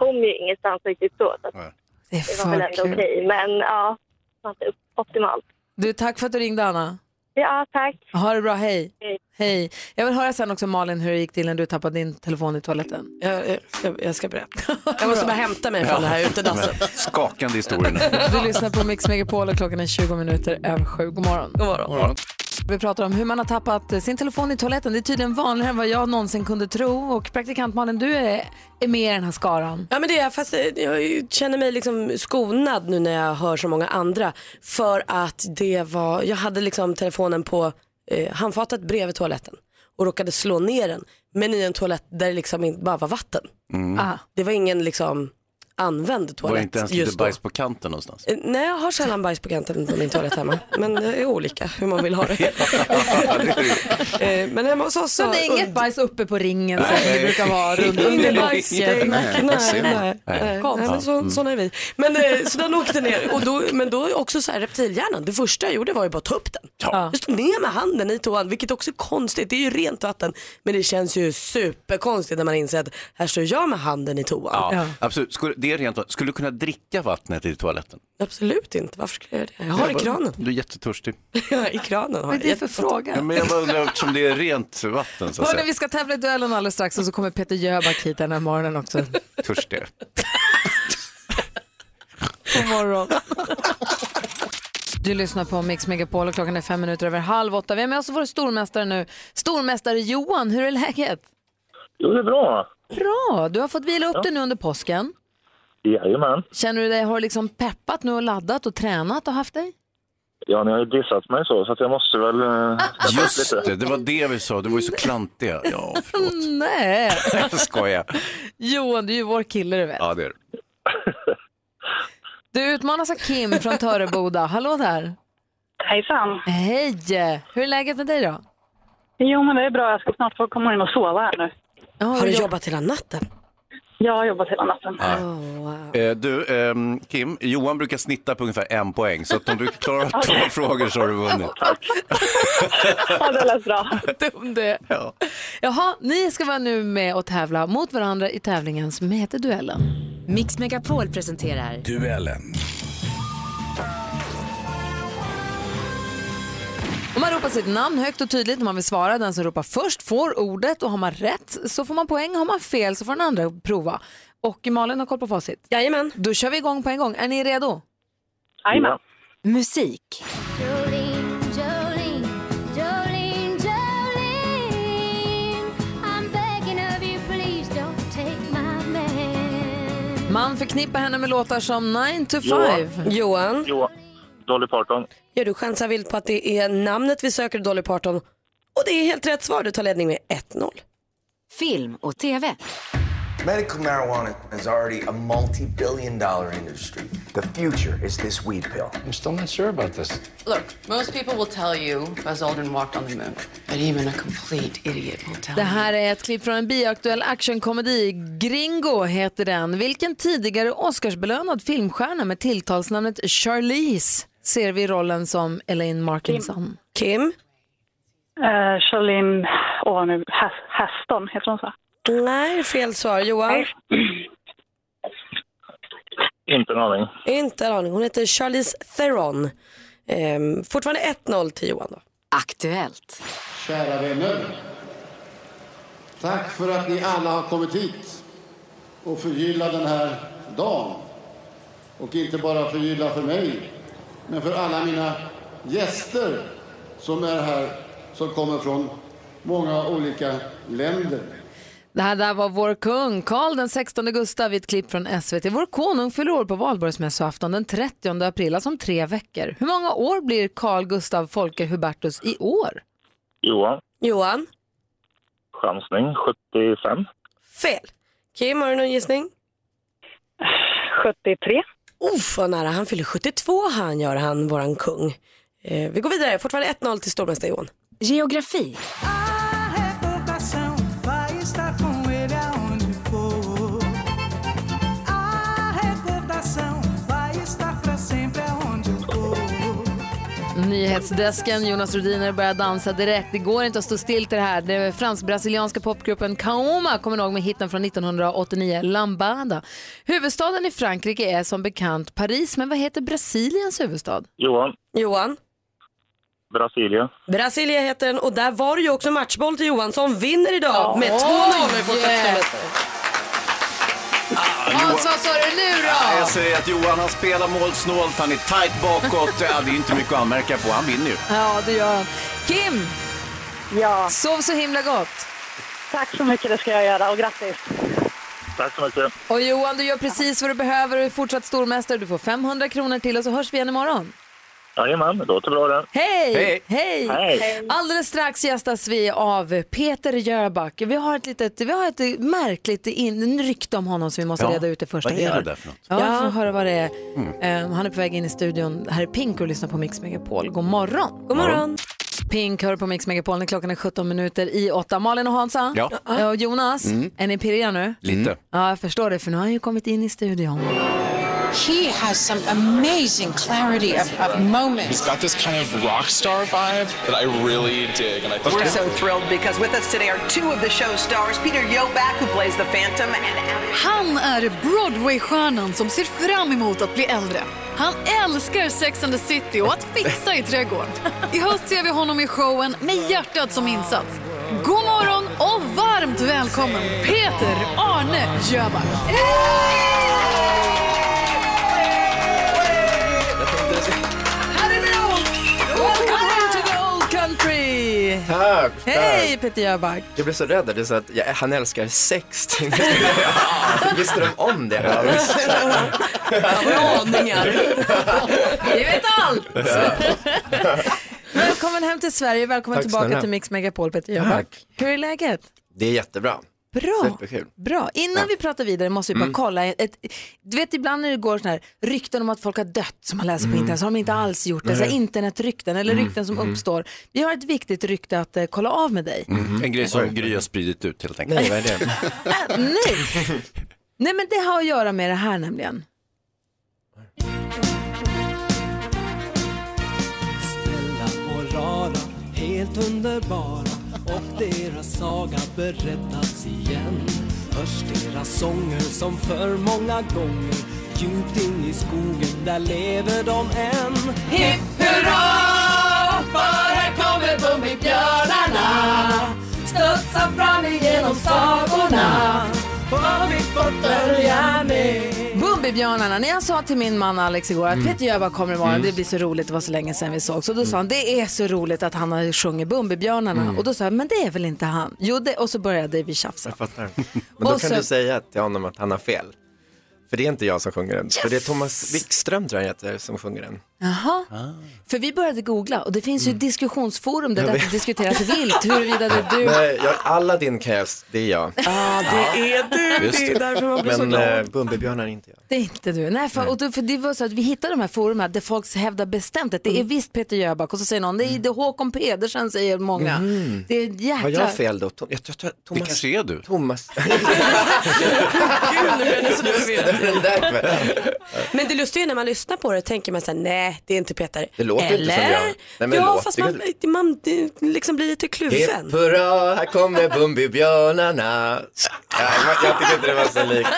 kom ju ingenstans riktigt så. så att
det,
var väl
för
ändå
kul.
okej, men ja, det var inte upp- optimalt.
Du, tack för att du ringde Anna.
Ja, tack.
Ha det bra, hej. Hej. Jag vill höra sen också Malin hur det gick till när du tappade din telefon i toaletten.
Jag, jag, ska, jag ska berätta. Jag måste bara hämta mig från det här alltså. utedasset.
men Skakande historier nu.
Du lyssnar på Mix Megapol och klockan är 20 minuter över sju. God morgon.
God morgon.
Vi pratar om hur man har tappat eh, sin telefon i toaletten. Det är tydligen vanligare än vad jag någonsin kunde tro. Och praktikant Malin, du är, är med i den här skaran.
Ja men det är jag, fast eh, jag känner mig liksom skonad nu när jag hör så många andra. För att det var, jag hade liksom telefonen på eh, handfatet bredvid toaletten och råkade slå ner den. Men i en toalett där det liksom inte bara var vatten.
Mm.
Ah.
Det var ingen liksom använd
Var
toalett
det inte ens
just
lite bajs på kanten någonstans?
då. Eh, Nej jag har sällan bajs på kanten på min toalett hemma. Men eh, det är olika hur man vill ha det. Eh, men hemma hos oss
Så det är inget bajs uppe på ringen som
Nej.
det brukar vara runt under
Under
backen?
backen. Nej, nej, nej. Mm. nej.
Konstigt.
men så, såna är vi. Men eh, så den åkte ner. Och då, men då också så här reptilhjärnan. Det första jag gjorde var ju bara att ta upp den.
Ja.
Just ner med handen i toan, vilket också är konstigt. Det är ju rent vatten. Men det känns ju superkonstigt när man inser att här står jag med handen i toan.
Ja, absolut. Skulle, det är rent vatten. Skulle du kunna dricka vattnet i toaletten?
Absolut inte. Varför skulle jag göra det? Jag har det i kranen.
Du är jättetörstig.
I kranen har
Vad är det för fråga?
Ja, men jag bara undrar eftersom det är rent vatten så att
Hörni,
säga.
vi ska tävla i duellen alldeles strax och så kommer Peter Jöback hit den här morgonen också.
Törstig.
God morgon. Du lyssnar på Mix Megapol och klockan är fem minuter över halv åtta. Vi har med oss vår stormästare nu. Stormästare Johan, hur är läget?
Jo, det är bra.
Bra, du har fått vila upp dig nu under påsken.
Jajamän.
Känner du dig, har du liksom peppat nu och laddat och tränat och haft dig?
Ja, ni har ju dissat mig så, så att jag måste väl... eh,
Just det, det var det vi sa. Du var ju så klantiga. Ja,
Nej!
jag skojar.
Johan, du är ju vår kille du vet.
Ja, det är det.
Du utmanas av Kim från Töreboda. Hallå där!
Hejsan!
Hej! Hur är läget med dig då?
Jo, men det är bra. Jag ska snart få komma in och sova här nu.
Har du jobbat hela natten?
Jag har jobbat hela natten.
Eh, Du, ehm, Kim, Johan brukar snitta på ungefär en poäng, så att om du klarar av två
Okej.
frågor så har du vunnit.
Ja, det lät bra.
Dum det. Jaha, ni ska vara nu med och tävla mot varandra i tävlingen som heter Duellen.
Mix Megapol presenterar
Duellen.
Om man ropar sitt namn högt och tydligt när man vill svara, den som ropar först får ordet och har man rätt så får man poäng, har man fel så får den andra prova. Och Malin har koll på facit.
Jajamän.
Då kör vi igång på en gång. Är ni redo?
Jajamän.
Musik. Man förknippar henne med låtar som 9 to 5.
Mm.
Johan.
Johan. Dolly Parton.
Ja, du chansar vilt på att det är namnet vi söker Dolly Parton. Och det är helt rätt svar. Du tar ledning med 1-0.
film och tv.
Medical marijuana is already a multi billion dollar industry. The future is this weed pill. I'm still not sure about this.
Look, most people will tell you Buzz Aldrin walked on the moon, but even a complete idiot will tell
Det här är ett klipp från en bioaktuell actionkomedi. Gringo heter den. Vilken tidigare Oscarsbelönad filmstjärna med tilltalsnamnet Charlize ser vi i rollen som Elaine Markinson?
Kim?
Uh, Charlene, åh nu, Has- Haston, heter hon så?
Nej, fel svar. Johan?
Inte en aning.
Inte en aning. Hon heter Charlize Theron. Ehm, fortfarande 1-0 till Johan då.
Aktuellt.
Kära vänner. Tack för att ni alla har kommit hit och förgyllat den här dagen. Och inte bara förgylla för mig, men för alla mina gäster som är här, som kommer från många olika länder.
Det här där var vår kung, Karl den 16 Gustav i ett klipp från SVT. Vår konung fyller år på valborgsmässoafton den 30 april, alltså om tre veckor. Hur många år blir Carl Gustav Folke Hubertus i år?
Johan.
Johan?
Chansning. 75.
Fel. Kim, har du någon gissning?
73.
Uff, vad nära. Han fyller 72 han gör han, våran kung. Eh, vi går vidare. Fortfarande 1-0 till stormästare Johan.
Geografi.
Vocação vai estar com ele aonde for. A recordação vai estar pra sempre aonde eu for.
Nyhetsdesken, Jonas Rhodiner börjar dansa direkt. Det går inte att stå still till det här. Den fransk-brasilianska popgruppen Kaoma kommer ihåg med hitten från 1989, Lambada. Huvudstaden i Frankrike är som bekant Paris, men vad heter Brasiliens huvudstad?
Johan.
Johan?
Brasilia.
Brasilia heter den och där var det ju också matchboll till Johan som vinner idag med 2-0
oh,
i fortsättningsspelet.
Hans, vad sa du nu
Ja,
då?
Jag säger att Johan han spelar målsnålt, han är tight bakåt. Ja, det är inte mycket att anmärka på, han vinner ju.
Ja, det gör han. Kim!
Ja.
Sov så himla gott.
Tack så mycket, det ska jag göra och grattis.
Tack så mycket.
Och Johan, du gör precis vad du behöver och är fortsatt stormästare. Du får 500 kronor till och så hörs vi igen imorgon.
Jajamän, det låter bra det.
Hej!
Hej! Hej.
Alldeles strax gästas vi av Peter Jöback. Vi har ett litet, vi har ett märkligt in, rykte om honom som vi måste
Ja,
reda ut det första
vad
vi
är det
gör.
där Mm. för något?
Ja,
Ja.
vi får höra vad det är. Eh, han är på väg in i studion. Här är Pink och lyssnar på Mix Megapol. God morgon!
God morgon!
Pink hör på Mix Megapol när klockan är 17 minuter i 8. Malin och Hansa
Ja.
Eh, och Jonas,
Mm.
är ni pirriga nu?
Lite.
Ja, jag förstår det för nu har han ju kommit in i studion.
He has some amazing clarity of, of moments.
got this kind of rock star vibe that I really dig. And I
We're so
thrilled because with us today are two of the show stars, Peter Yoback, who plays the Phantom, and
Han är Broadway-stjärnan som ser fram emot att bli äldre. Han älskar Sex and the City och att fixa i trädgården. I höst ser vi honom i showen med hjärtat som insats. God morgon och varmt välkommen Peter Arne Jöback.
Welcome to the old country!
Tack!
Hej Peter Jöback!
Jag blev så rädd att du sa att jag, han älskar sex. tänkte jag. Visste de om det?
Vi vet allt! Välkommen hem till Sverige, välkommen
Tack
tillbaka
snälla.
till Mix Megapol Peter Jöback. Hur är läget?
Det är jättebra.
Bra.
Superkul.
Bra. Innan
Ja.
vi pratar vidare måste vi bara
Mm.
kolla. Ett, du vet ibland när det går såna här rykten om att folk har dött som man läser på internet så har de inte alls gjort det. Så här
Mm. Nej.
internetrykten eller
Mm.
rykten som
Mm.
uppstår. Vi har ett viktigt rykte att eh, kolla av med dig.
Mm-hmm.
En grej som Gry har spridit ut helt enkelt.
Nej, vad är det?
Nej! Nej men det har att göra med det här nämligen.
snälla och rara, helt underbara och deras saga berättas igen. Hörs deras sånger som för många gånger djupt in i skogen, där lever de än. Hipp hurra, för här kommer Bumbibjörnarna studsar fram igenom sagorna och vi får följa med.
Bumbibjörnarna, när jag sa till min man Alex igår att
Mm.
Peter Jöback kommer imorgon, det blir så roligt, det var så länge sedan vi såg. Så då sa han, det är så roligt att han har sjungit Bumbibjörnarna.
Mm.
Och då sa jag, men det är väl inte han? Jo, det, och så började vi tjafsa.
Jag fattar. Men då
Och så-
kan du säga till honom att han har fel. För det är inte jag som sjunger den. För det är
Yes!
Thomas Wikström tror jag han heter som sjunger den.
Jaha. För vi började googla och det finns ju diskussionsforum där
Mm. Jag
det
vet.
diskuteras vilt huruvida det är du.
Nej, jag, Aladdin kan jag, det är jag.
Ah, det är du.
Just
Det är därför man blir så
Men
glad.
eh, Bumbibjörnar är inte jag.
Det är inte du. Nej, för, och då, för det var så att vi hittade de här forumen där folk hävdar bestämt att det
Mm.
är visst Peter Jöback och så säger någon det är, det är Håkon Pedersen säger många.
Mm.
Det är en jäkla...
Har jag fel då? Tom, jag, tror- jag, tror- Thomas, det kanske är du? Thomas.
Gud, nu blir jag nästan
förvirrad.
Men det lustiga är när man lyssnar på det tänker man så här, nej det är inte Peter.
Det låter
Eller?
inte som jag. Nej, men
ja,
låter
fast man, man det liksom blir lite kluven.
Hipp hurra, här kommer Bumbibjörnarna. Ja, jag, jag tycker inte det var så likt.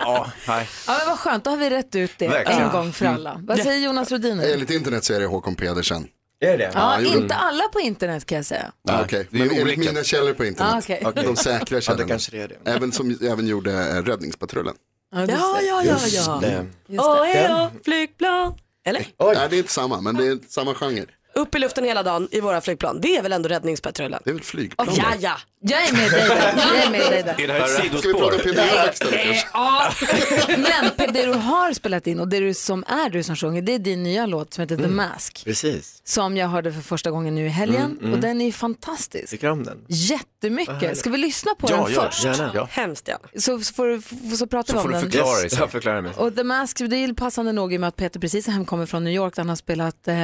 ja, nej.
Ja, men vad skönt, då har vi rätt ut det
Verkligen.
en gång för alla.
Mm.
Vad säger Jonas Rodiner?
Enligt internet så är det Håkon Pedersen.
Är det?
Ja,
jo.
inte alla på internet kan jag säga.
Ja, Okej,
det är
men
olika.
enligt mina källor på
Ah,
internet.
okej. Okej.
De säkra källorna.
kanske det är det.
Även som även gjorde eh, Räddningspatrullen.
Ah, Ja,
ja, ja, ja. ja. Åh, hej då, flygplan. Eller?
Nej, det är inte samma, men det är samma genre.
Upp i luften hela dagen i våra flygplan. Det är väl ändå räddningspatrullen?
Det är väl flygplan?
Oh, ja, ja.
Jag är med dig där. Jag är med dig där.
Är det här ett Ska vi sidospår? prata om Peter Jöback istället, kanske?
Ja. Men det du har spelat in och det du som är du som sjunger, det är din nya låt som heter The
Mm.
Mask.
Precis.
Som jag hörde för första gången nu i helgen
Mm, mm.
och den är ju fantastisk.
Tycker du om den? Vad
Jättemycket.
härligt.
Ska vi lyssna på den först?
Gärna.
Hemskt gärna.
Så, så får, du- f- så pratar vi om den.
dig. Ja, förklara mig.
Och The Mask, det är passande nog i och med att Peter precis hemkommer från New York där han har spelat eh,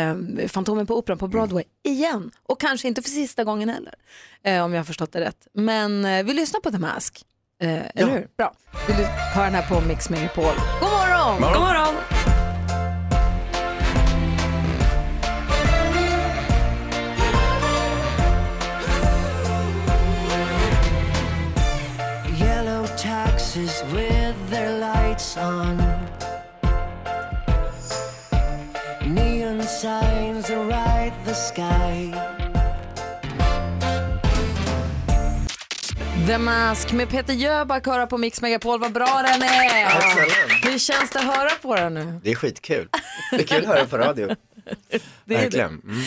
Fantomen på Operan på Broadway igen. Och kanske inte för sista gången heller, eh, om jag har förstått det rätt. Men eh, vi lyssnar på The Mask, eh, eller hur? Bra. Vill du höra den här på Mix Megapol? God morgon!
God morgon!
Yellow taxis with their lights on. Neon signs arrive the sky.
The Mask med Peter Jöback höra på Mix Megapol, vad bra den är!
Tack snälla.
Hur känns det att höra på den nu?
Det är skitkul. Det är kul att höra på radio.
Det är det.
Verkligen. Mm.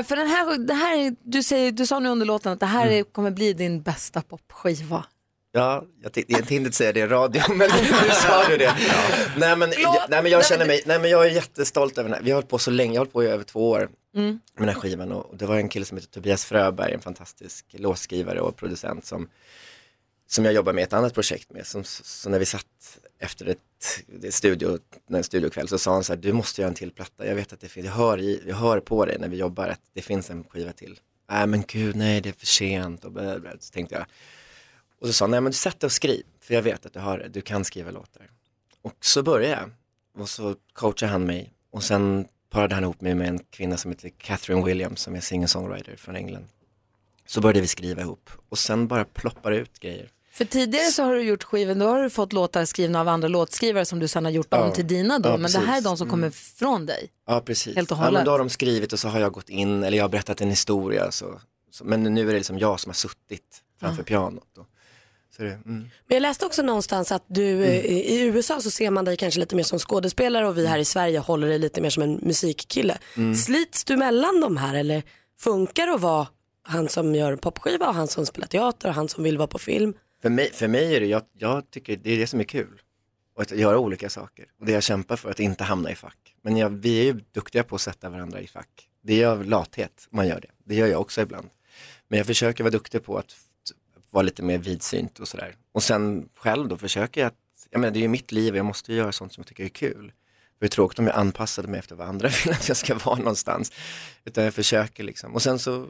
Eh, För den här, det här är, du, säger, du sa nu under låten att det här
Mm.
är, kommer bli din bästa popskiva.
Ja, jag tänkte jag tänkte inte säga det i radio, men nu sa du det. Nej, men, jag, nej, men jag känner mig, nej, men jag är jättestolt över den här. Vi har hållit på så länge, jag har hållit på i över två år
Mm.
med den här skivan och det var en kille som heter Tobias Fröberg, en fantastisk låtskrivare och producent som, som jag jobbar med ett annat projekt med. Som, så när vi satt efter ett, det studio, en studiokväll så sa han så här, du måste göra en till platta, jag vet att det finns, jag hör, i, jag hör på dig när vi jobbar att det finns en skiva till. Nej men gud, nej det är för sent och bla, bla, bla. så tänkte jag. Och så sa han, nej men sätt dig och skriv, för jag vet att du har det, du kan skriva låtar. Och så började jag. Och så coachade han mig. Och sen parade han ihop mig med en kvinna som heter Catherine Williams som är singer-songwriter från England. Så började vi skriva ihop. Och sen bara ploppar det ut grejer.
För tidigare så har du gjort skivan, då har du fått låtar skrivna av andra låtskrivare som du sen har gjort
Ja.
om till dina då,
Ja,
men det här är
precis.
de som
Mm.
kommer från dig.
Ja, precis.
Helt och
Ja,
hållet.
men då har de skrivit och så har jag gått in, eller jag har berättat en historia. Så, så, men nu är det liksom jag som har suttit framför
Ja.
pianot. Och, så det, mm.
Men jag läste också någonstans att du eh, i USA så ser man dig kanske lite mer som skådespelare och vi här i Sverige håller dig lite mer som en musikkille.
Mm.
Slits du mellan de här eller funkar det att vara han som gör popskiva och han som spelar teater och han som vill vara på film?
För mig, för mig är det, jag, jag tycker det är det som är kul. Och att göra olika saker. Och det jag kämpar för, att inte hamna i fack. Men jag, vi är ju duktiga på att sätta varandra i fack. Det gör lathet, om man gör det. Det gör jag också ibland. Men jag försöker vara duktig på att f- vara lite mer vidsynt och sådär. Och sen själv då försöker jag att, jag menar det är ju mitt liv och jag måste ju göra sånt som jag tycker är kul. Det är tråkigt om jag anpassade mig efter vad andra vill att jag ska vara någonstans. Utan jag försöker liksom. Och sen så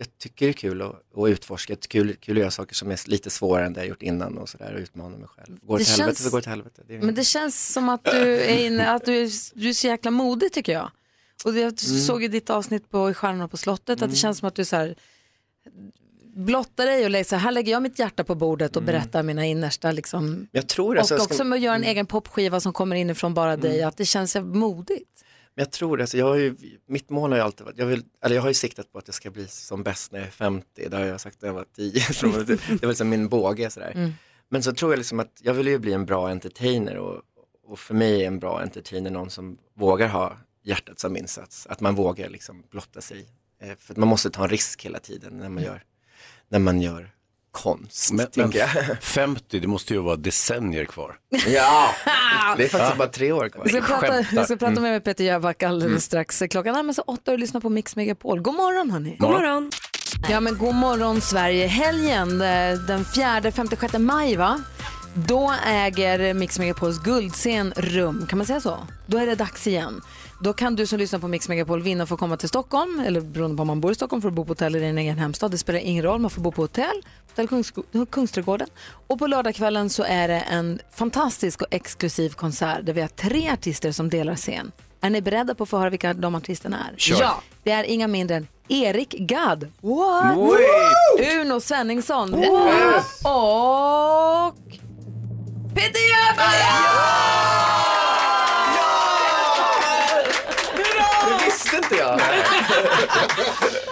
jag tycker det är kul att, att utforska, det är kul, kul att göra saker som är lite svårare än det jag gjort innan och sådär och utmana mig själv. Går
Det
det till helvete
känns-
så går det till helvete. Det är-
Men det känns som att du är, inne, att du är, du är så jäkla modig tycker jag. Och jag
Mm.
såg ju ditt avsnitt på I Stjärnorna på slottet att det känns som att du så här, blottar dig och lägger så här, här lägger jag mitt hjärta på bordet
Mm.
och berättar mina innersta liksom.
Men jag tror
Och
alltså, jag ska- Mm.
också med att göra en egen popskiva som kommer inifrån bara dig, att det känns så modigt.
Men jag tror det, alltså, jag har ju, mitt mål har ju alltid varit, jag, vill, eller jag har ju siktat på att jag ska bli som bäst när jag är 50, det har jag sagt när jag var 10, så det det var liksom min båge sådär.
Mm.
Men så tror jag liksom att jag vill ju bli en bra entertainer och, och för mig är en bra entertainer någon som vågar ha hjärtat som insats, att man vågar liksom blotta sig. Eh, För att man måste ta en risk hela tiden när
Mm.
man gör, när man gör konst,
Men, men
tänker jag.
50, det måste ju vara decennier kvar.
Ja, det är faktiskt
Ja.
bara tre år kvar.
Vi ska prata,
Skämtar.
jag ska prata
Mm.
med Peter Jöback alldeles
Mm.
strax. Klockan närmar sig åtta och du lyssnar på Mix Megapol. God morgon hörni.
God morgon.
Ja men god morgon Sverige. Helgen eh, den 4-5-6 maj va? Då äger Mix Megapols guldscen rum, kan man säga så? Då är det dags igen. Då kan du som lyssnar på Mix Megapol vinna och få komma till Stockholm, eller beroende på om man bor i Stockholm, för att bo på hotell i din egen hemstad. Det spelar ingen roll, man får bo på hotell, hotell Kungs- Kungsträdgården. Och på lördagskvällen så är det en fantastisk och exklusiv konsert där vi har tre artister som delar scen. Är ni beredda på att få höra vilka de artisterna är?
Kör. Ja.
Det är inga mindre än Erik Gadd. What?
Wow!
Uno Svenningsson.
Yes!
Och... Peter Jöback!
Det visste inte jag.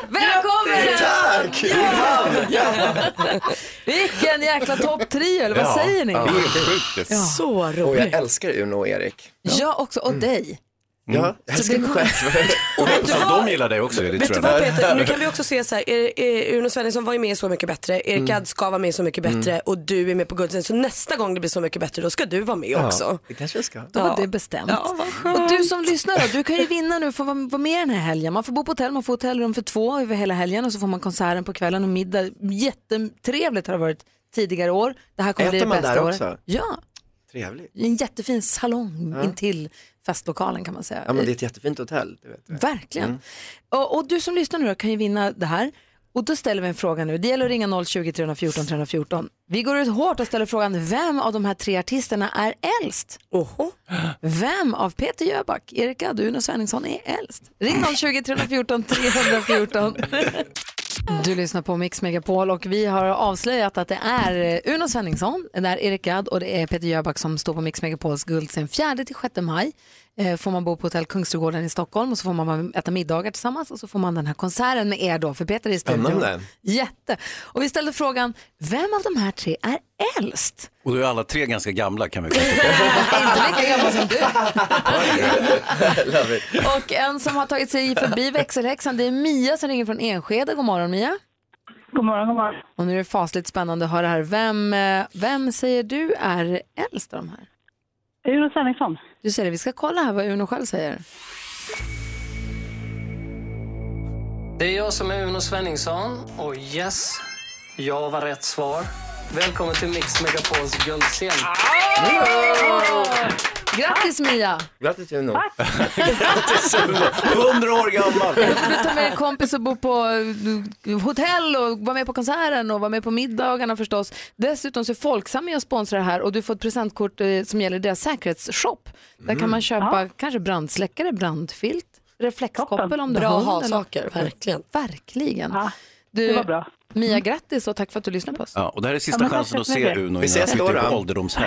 Välkommen!
Tack!
Vilken jäkla topptrio, eller vad säger ni?
Ja, det är sjukt.
Ja. Så
Och jag
roligt.
älskar Uno och Erik.
Jag också, och dig.
Ja, jag älskar mig själv.
Och
Vet du
så
vad?
de gillar dig också, det
Vet du
tror jag.
vad Peter, nu kan vi också se så här, er, er, Uno Svensson var ju med i Så mycket bättre, Erik
Mm.
Gadd ska vara med i Så mycket bättre
Mm.
och du är med på Guldsen. Så nästa gång det blir Så mycket bättre då ska du vara med också.
Det kanske jag ska.
Då var det bestämt. och du som lyssnar då, du kan ju vinna nu, få vara vara med den här helgen. Man får bo på hotell, man får hotellrum för två över hela helgen och så får man konserten på kvällen och middag. Jättetrevligt har det varit tidigare år. Det här kommer bli
Äter
det
man
bästa
där
året.
också?
Ja,
Trevligt.
i en jättefin salong
Ja.
intill festlokalen kan man säga.
Ja, men det är ett jättefint hotell. Du vet.
Verkligen.
Mm.
Och, och du som lyssnar nu då kan ju vinna det här. Och då ställer vi en fråga nu. Det gäller att ringa 020 314 314. Vi går ut hårt och ställer frågan vem av de här tre artisterna är äldst?
Oho.
Vem av Peter Jöback, Erik Gadd och Svenningsson är äldst? Ring 020 314 314. Du lyssnar på Mix Megapol och vi har avslöjat att det är eh, Uno Svenningsson, det är Erik Gadd och det är Peter Jöback som står på Mix Megapols guldscen 4-6 maj. Eh, Får man bo på hotell Kungsträdgården i Stockholm och så får man äta middagar tillsammans och så får man den här konserten med er då, för Peter är i studion.
Spännande.
Jätte! Och vi ställde frågan, vem av de här tre är äldst?
Och då är alla tre ganska gamla kan vi konstatera.
Inte lika gammal som du. Och en som har tagit sig förbi växelhäxan, det är Mia som ringer från Enskede. God morgon Mia.
God morgon, god morgon.
Och nu är det fasligt spännande att höra här. Vem, eh, vem säger du är äldst av de här?
Uno Svenningsson.
Du säger det, vi ska kolla här vad Uno själv säger.
Det är jag som är Uno Svenningsson och yes, jag var rätt svar. Välkommen till Mix Megapols guldscen.
Grattis Mia!
Grattis Uno.
Grattis Uno, 100 år gammal.
Du får ta med en kompis och bo på eh, hotell och vara med på konserten och vara med på middagarna förstås. Dessutom så är Folksam med och sponsrar det här och du får ett presentkort eh, som gäller deras säkerhetsshop. Där kan
Mm.
man köpa kanske brandsläckare, brandfilt, reflexkoppel om du
Bra
har hund eller-
ha-saker, verkligen.
Verkligen.
det var bra.
Mia, grattis och tack för att du lyssnade på oss.
Ja, och det här är
Ja,
sista
men
chansen
tack
att
så
se
mycket.
Uno
Vi
innan han
ses då,
flyttar
då.
på ålderdomshem.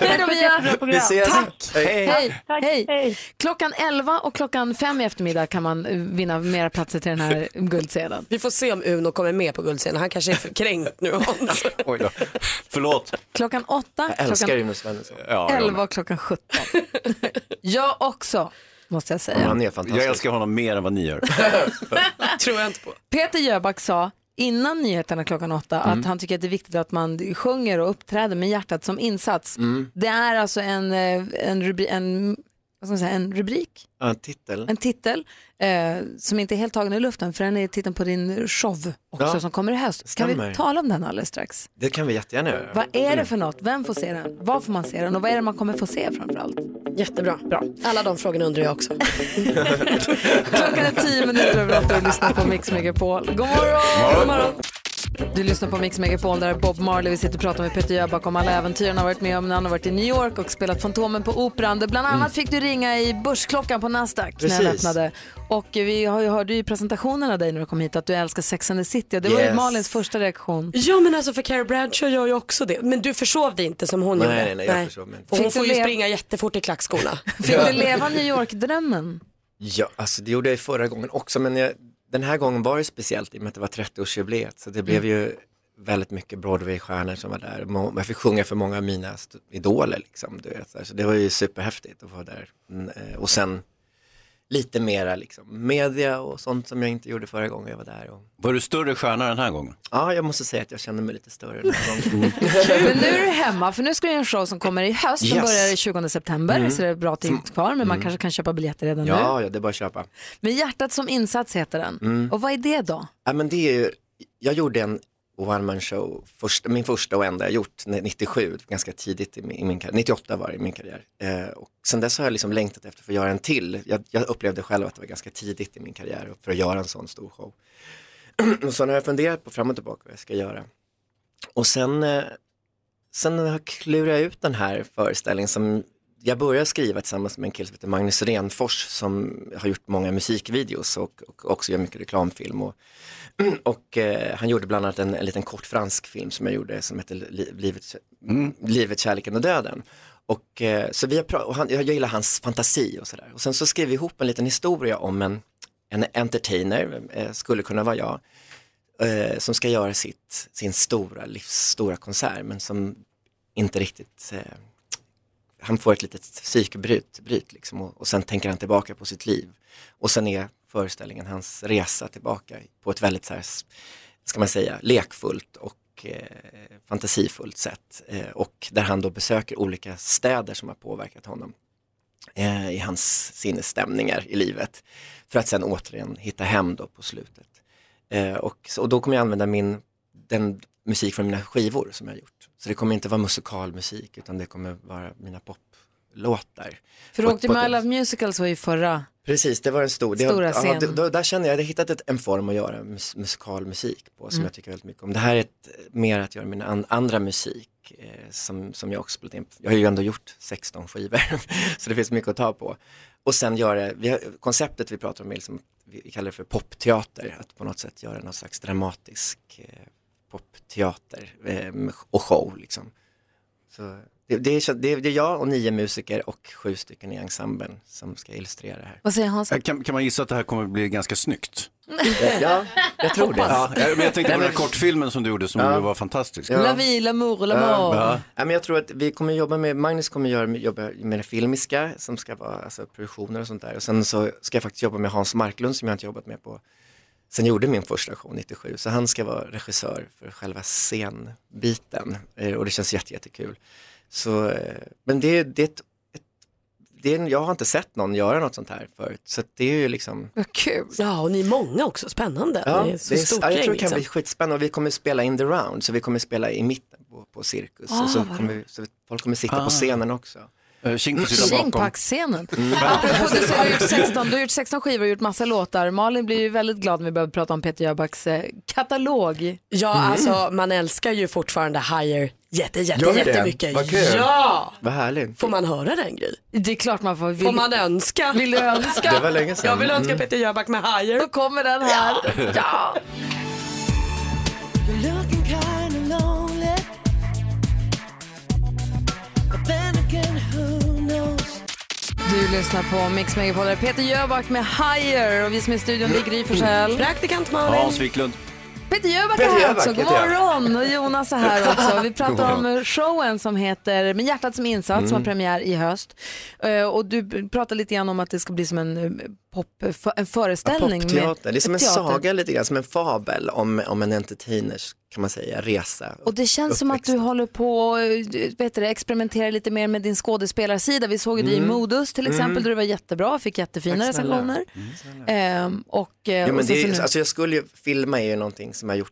Hej då Mia!
Vi ses.
Tack!
Hej.
Hej. Hej. Klockan 11 och klockan 5 i eftermiddag kan man eh, vinna mera platser till den här guldsedeln.
Vi får se om Uno kommer med på Guldscenen, han kanske är för kränkt nu.
Oj då. Förlåt.
Klockan 8,
Jag älskar
klockan
Uno Svensson.
11 och klockan 17. Jag också, måste jag säga.
Han är fantastisk.
Jag älskar honom mer än vad ni gör.
Tror jag inte på.
Peter Jöback sa innan nyheterna klockan 8
Mm.
att han tycker att det är viktigt att man sjunger och uppträder med hjärtat som insats.
Mm.
Det är alltså en, eh, en, rubri, en vad ska man säga, en rubrik,
Ja, titel.
en titel eh, som inte är helt tagen ur luften för den är titeln på din show också
Ja,
som kommer i höst. Kan vi
stämmer.
tala om den alldeles strax?
Det kan vi jättegärna göra.
Vad är det för något? Vem får se den? Var får man se den? Och vad är det man kommer få se framförallt?
Jättebra. Bra. Alla de frågorna undrar jag också.
Klockan är tio minuter över åtta och du lyssnar på Mix Megapol. God morgon! God morgon. Du lyssnar på Mix Megapol där Bob Marley, vi sitter och pratar med Peter Jöback om alla äventyr han har varit med om när han har varit i New York och spelat Fantomen på Operan. Där Bland annat
Mm.
fick du ringa i börsklockan på Nasdaq när den
Precis.
öppnade. Och vi har ju, hörde ju i presentationen av dig när du kom hit att du älskar Sex and the City och det var ju
Yes.
Malins första reaktion.
Ja men alltså för Carrie Bradshaw gör ju också det. Men du försov dig inte som hon
Nej,
gjorde.
nej, nej, jag försov mig inte.
Och hon
Fick du
får ju
le-
springa jättefort i klackskorna.
Fick du leva New York-drömmen?
Ja, alltså det gjorde jag ju förra gången också, men jag, den här gången var det speciellt i och med att det var 30-årsjubileet, så det
Mm.
blev ju väldigt mycket Broadway-stjärnor som var där. Må- Jag fick sjunga för många av mina st- idoler, liksom, du vet, så, här. så det var ju superhäftigt att vara där. Mm, eh, och sen lite mera liksom, media och sånt som jag inte gjorde förra gången jag var där. Och...
Var du större stjärna den här gången?
Ja, jag måste säga att jag kände mig lite större den här gången.
Men nu är du hemma för nu ska du göra en show som kommer i höst. Den
Yes.
börjar 20 september
Mm.
så det är bra tid kvar men man
Mm.
kanske kan köpa biljetter redan nu.
ja, ja, det är bara att köpa.
Med hjärtat som insats heter den.
Mm.
Och vad är det då?
Ja, men det är ju, jag gjorde en one man show, först, min första och enda jag gjort, n- 97, ganska tidigt i min, i min karriär, 98 var det i min karriär. Eh, och sen dess har jag liksom längtat efter att få göra en till. Jag, jag upplevde själv att det var ganska tidigt i min karriär och för att göra en sån stor show. och sen har jag funderat på fram och tillbaka vad jag ska göra. Och sen, eh, sen har jag klurat ut den här föreställningen som jag började skriva tillsammans med en kille som heter Magnus Renfors som har gjort många musikvideos och, och också gör mycket reklamfilm. Och, och eh, han gjorde bland annat en, en liten kort fransk film som jag gjorde som heter Li- Livet, Livet, kärleken och döden. Och, eh, så vi har pra- och han, jag gillar hans fantasi och sådär. Och sen så skrev vi ihop en liten historia om en, en entertainer, eh, skulle kunna vara jag, eh, som ska göra sitt, sin stora, livsstora konsert men som inte riktigt eh, han får ett litet psykbryt bryt liksom, och, och sen tänker han tillbaka på sitt liv. Och sen är föreställningen hans resa tillbaka på ett väldigt så här, s- ska man säga, lekfullt och eh, fantasifullt sätt. Eh, och där han då besöker olika städer som har påverkat honom eh, i hans sinnesstämningar i livet. För att sen återigen hitta hem då på slutet. Eh, och, så- och då kommer jag använda min, den musik från mina skivor som jag har gjort. Så det kommer inte vara musikalmusik utan det kommer vara mina poplåtar.
För du
På-
åkte
på
med
ett-
I Love Musicals var ju förra.
Precis, det var en stor, det,
Stora
ja,
scen.
det- då, där känner jag, jag hade hittat ett, en form att göra mus, musikalmusik på som
Mm.
jag tycker väldigt mycket om. Det här är ett, mer att göra min an, andra musik eh, som, som jag också spelat in. Jag har ju ändå gjort 16 skivor så det finns mycket att ta på. Och sen göra, vi har, konceptet vi pratar om är liksom, vi kallar det för popteater, att på något sätt göra någon slags dramatisk eh, popteater eh, och show liksom. Så det, det, är, det, är- det är jag och nio musiker och sju stycken i ensemblen som ska illustrera det här.
Vad säger Hans?
Äh, Kan, kan man gissa att det här kommer bli ganska snyggt?
Ja, jag tror det.
Ja, jag- men jag tänkte
Nej,
på den
men-
här kortfilmen som du gjorde som
Ja.
var fantastisk.
La vie, l'amour, l'amour.
Ja. Ja, men jag tror att vi kommer jobba med, Magnus kommer göra, jobba med det filmiska som ska vara alltså, produktioner och sånt där. Och sen så ska jag faktiskt jobba med Hans Marklund som jag inte jobbat med på, sen jag gjorde min första show 97. Så han ska vara regissör för själva scenbiten Eh, och det känns jätte- jättekul. Så, eh, men det, det, är ett, ett, det är, en- jag har inte sett någon göra något sånt här förut. Så att det är ju liksom
Vad kul.
Ja och ni är många också, spännande.
Ja,
ni är så
det är-
stort
ja, jag
gäng,
tror det kan
liksom.
bli skitspännande och vi kommer spela in the round, så vi kommer spela i mitten på, på cirkus.
Ah,
och så
vad
kommer, vi- så folk kommer sitta
Ah.
på scenen också.
Mm.
Kink
Tjingpack-scenen.
Mm.
Apropå det så har du, gjort 16, du har gjort 16 skivor och gjort massa låtar. Malin blir ju väldigt glad när vi börjar prata om Peter Jöbacks eh, katalog.
Ja
Mm.
alltså man älskar ju fortfarande Higher jätte, jätte,
Gör det?
jättemycket.
Vad kul.
Ja!
Vad härligt.
Får man höra den Gry?
Det är klart man får.
Får man önska?
Vill du önska?
Det var länge sedan.
Jag vill önska
Mm.
Peter Jöback med Higher. Då
kommer den här. Ja.
You're looking kinda lonely. But then again, who knows?
Du lyssnar på Mix Megapol, där Peter Jöback med Higher och vi som är i studion, det är Gry Forssell.
Praktikant
Hans Wiklund.
Peter Jöback
Peter
är här
Jöback
också. God
heter jag.
morgon! Och Jonas är här också. Vi
God
pratar
morgon.
om showen som heter Med hjärtat som insats som har
Mm.
premiär i höst. Eh, Och du b- pratar lite grann om att det ska bli som en eh, pop, en föreställning. med-
Popteater, det är som en
teater.
saga lite grann, som en fabel om, om en entertainers kan man säga, resa.
Och det känns som att du håller på och eh, vet du, det, experimenterar lite mer med din skådespelarsida. Vi såg ju dig i
Mm.
Modus till exempel
Mm.
där du var jättebra, fick jättefina
Tack snälla.
recensioner. Ehm, och, eh,
Jo,
och
men
så-
det,
så nu-
är- alltså jag skulle ju, filma är ju någonting som jag gjort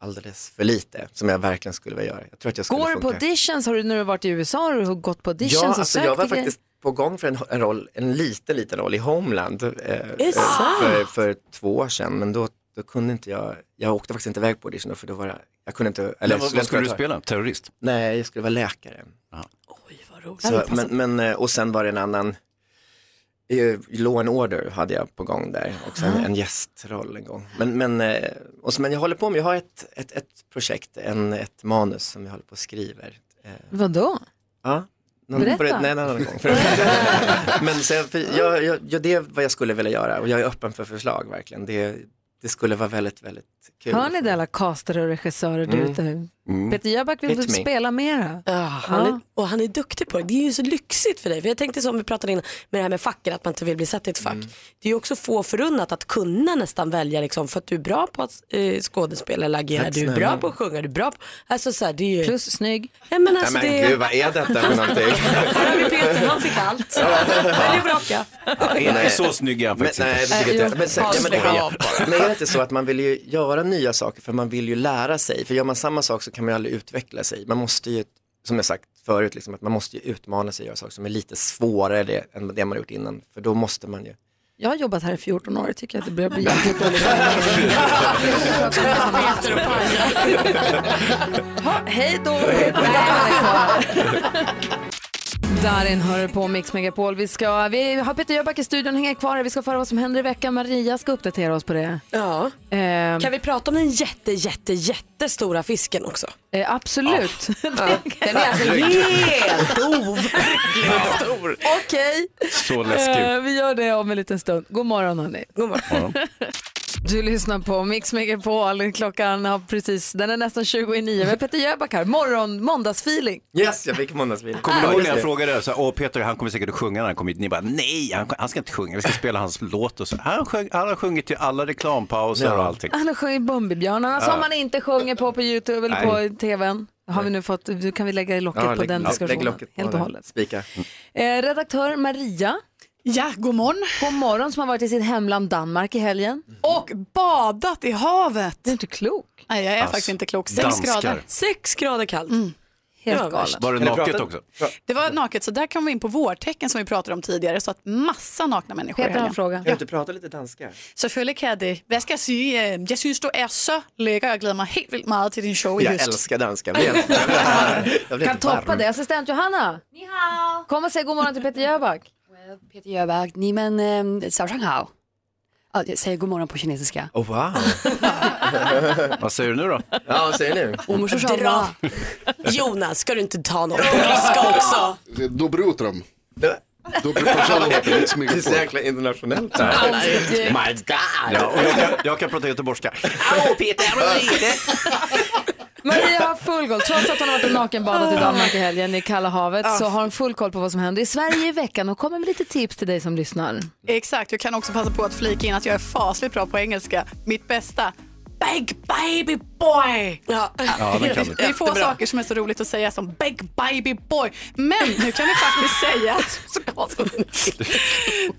alldeles för lite, som jag verkligen skulle vilja göra. Jag tror att jag skulle
Går du på
funka.
auditions? Har du, när du har varit i USA, har du gått på auditions
Ja,
och
alltså
sökt
jag var
till grejer?
faktiskt på gång för en, en roll, en liten, liten roll i Homeland eh,
det
eh,
sant?
för, för två år sedan, men då, då kunde inte jag, jag åkte faktiskt inte iväg på audition för då var jag, jag kunde inte,
Men vad-
jag
vad skulle du
ta-
spela? Terrorist?
Nej, jag skulle vara läkare.
Ja,
Så,
det passar.
men, men, eh, och sen var det en annan, eh, Law and Order hade jag på gång där, också en, en gästroll en gång. Men, men, eh, och så, men jag håller på med, jag har ett, ett, ett projekt, en, ett manus som jag håller på och skriver. Eh,
Vadå?
ja,
Berätta.
förut- nej, en annan gång. Förut. men så, jag- för jag, jag, jag, det är vad jag skulle vilja göra och jag är öppen för förslag verkligen. Det, det skulle vara väldigt, väldigt kul.
Hör ni det alla castare och regissörer där
Mm.
ute?
Mm.
Peter Jöback vill
Hit me.
spela mera.
Han är, och han är duktig på det. Det är ju så lyxigt för dig. För jag tänkte som vi pratade innan med det här med facken, att man inte vill bli satt i ett fack.
Mm.
Det är ju också få förunnat att kunna nästan välja liksom, för att du är bra på att eh, skådespela eller agera,
Tack
du är
snälla.
bra på att sjunga, du är bra på... Alltså så här, det är ju...
Plus snygg.
Ja, men alltså,
Nej, men
det...
gud, vad är detta för någonting?
Här har vi Peter, han fick allt. Välj och vraka.
Inte så snygg är han
Men,
faktiskt
nej,
inte.
det tycker jag inte.
Jo,
Men, sen, ja, men, det,
bra
men är det inte så att man vill ju göra nya saker för man vill ju lära sig. För gör man samma sak så kan man ju aldrig utveckla sig. Man måste ju, som jag sagt förut, liksom, att man måste ju utmana sig och göra saker som är lite svårare det, än det man har gjort innan. För då måste man ju.
Jag har jobbat här i 14 år och tycker att det börjar bli jättedåligt. Ha, Hej då! Darin hör på Mix Megapol. Vi, ska, vi har Peter Jöback i studion, hänger kvar här. Vi ska föra vad som händer i veckan. Maria ska uppdatera oss på det. Eh,
Ja.
Ehm.
Kan vi prata om den jätte, jätte, jättestora fisken också?
Eh, absolut.
Den är alltså helt overkligt
stor. Okej.
Så
Eh, vi gör det om en liten stund. God morgon hörni.
God morgon.
Du lyssnar på Mix Megapol. Klockan har precis, den är nästan 20 i nio. Vi har Peter Jöback här. Morgon, måndagsfeeling.
Yes, jag fick måndagsvila.
Kommer du ihåg när jag frågade så här, Åh, Peter han kommer säkert att sjunga när han kommer hit? Ni bara nej, han, han ska inte sjunga, vi ska spela hans låt och så. Han, sjöng, han har sjungit till alla reklampauser och allting.
Han har sjungit Bumbibjörnarna som
Ja.
man inte sjunger på på Youtube eller
Nej.
på tvn. Har vi nu fått, nu kan vi lägga i locket på den diskussionen helt och hållet.
Spika.
Eh, redaktör Maria.
Ja, god morgon. Mm.
God morgon som har varit i sitt hemland Danmark i helgen.
Och badat i havet.
Det är inte klok.
Nej, jag är
Alltså,
faktiskt inte klok. Sex
danskar.
grader. Mm.
Sex grader kallt.
Helt
Ja,
galet.
Var det
Kan du
naket
prata?
också?
Det var naket, så där kom vi in på vårtecken som vi pratade om tidigare, så att massa nakna människor i
Peter har
helgen.
en fråga. Kan du inte
prata
lite danska?
Selvfølgelig kan jeg det. Hvad skal jeg sige? Øh, Jeg synes, du er så lækker. Jeg glæder mig helt vildt meget til din show i
Jag
høst.
älskar danska. Jag blev- jag blev varm. Jag blev
Kan toppa det. Assistent Johanna. Kom och säg god morgon till Peter Jöback.
Peter Jöback, ni men eh, Sao Shanghao. Ja, jag säger god morgon på kinesiska.
Oh, wow.
vad säger du nu då? Ja,
vad säger ni?
Dra. Jonas, ska du inte ta någon polska också?
Dobro utro. Dobro
Det
pojalo.
är så jäkla internationellt.
My God. Ja, och jag, kan, jag kan prata göteborgska.
Maria har full koll. Trots att hon har varit och nakenbadat
Ah.
i Danmark i helgen i kalla havet så har hon full koll på vad som händer i Sverige i veckan och kommer med lite tips till dig som lyssnar.
Exakt, jag kan också passa på att flika in att jag är fasligt bra på engelska. Mitt bästa, big baby boy.
Ja.
Ja,
den kan du.
det är få
Jättebra.
saker som är så roligt att säga som big baby boy. Men nu kan vi faktiskt säga så konstigt.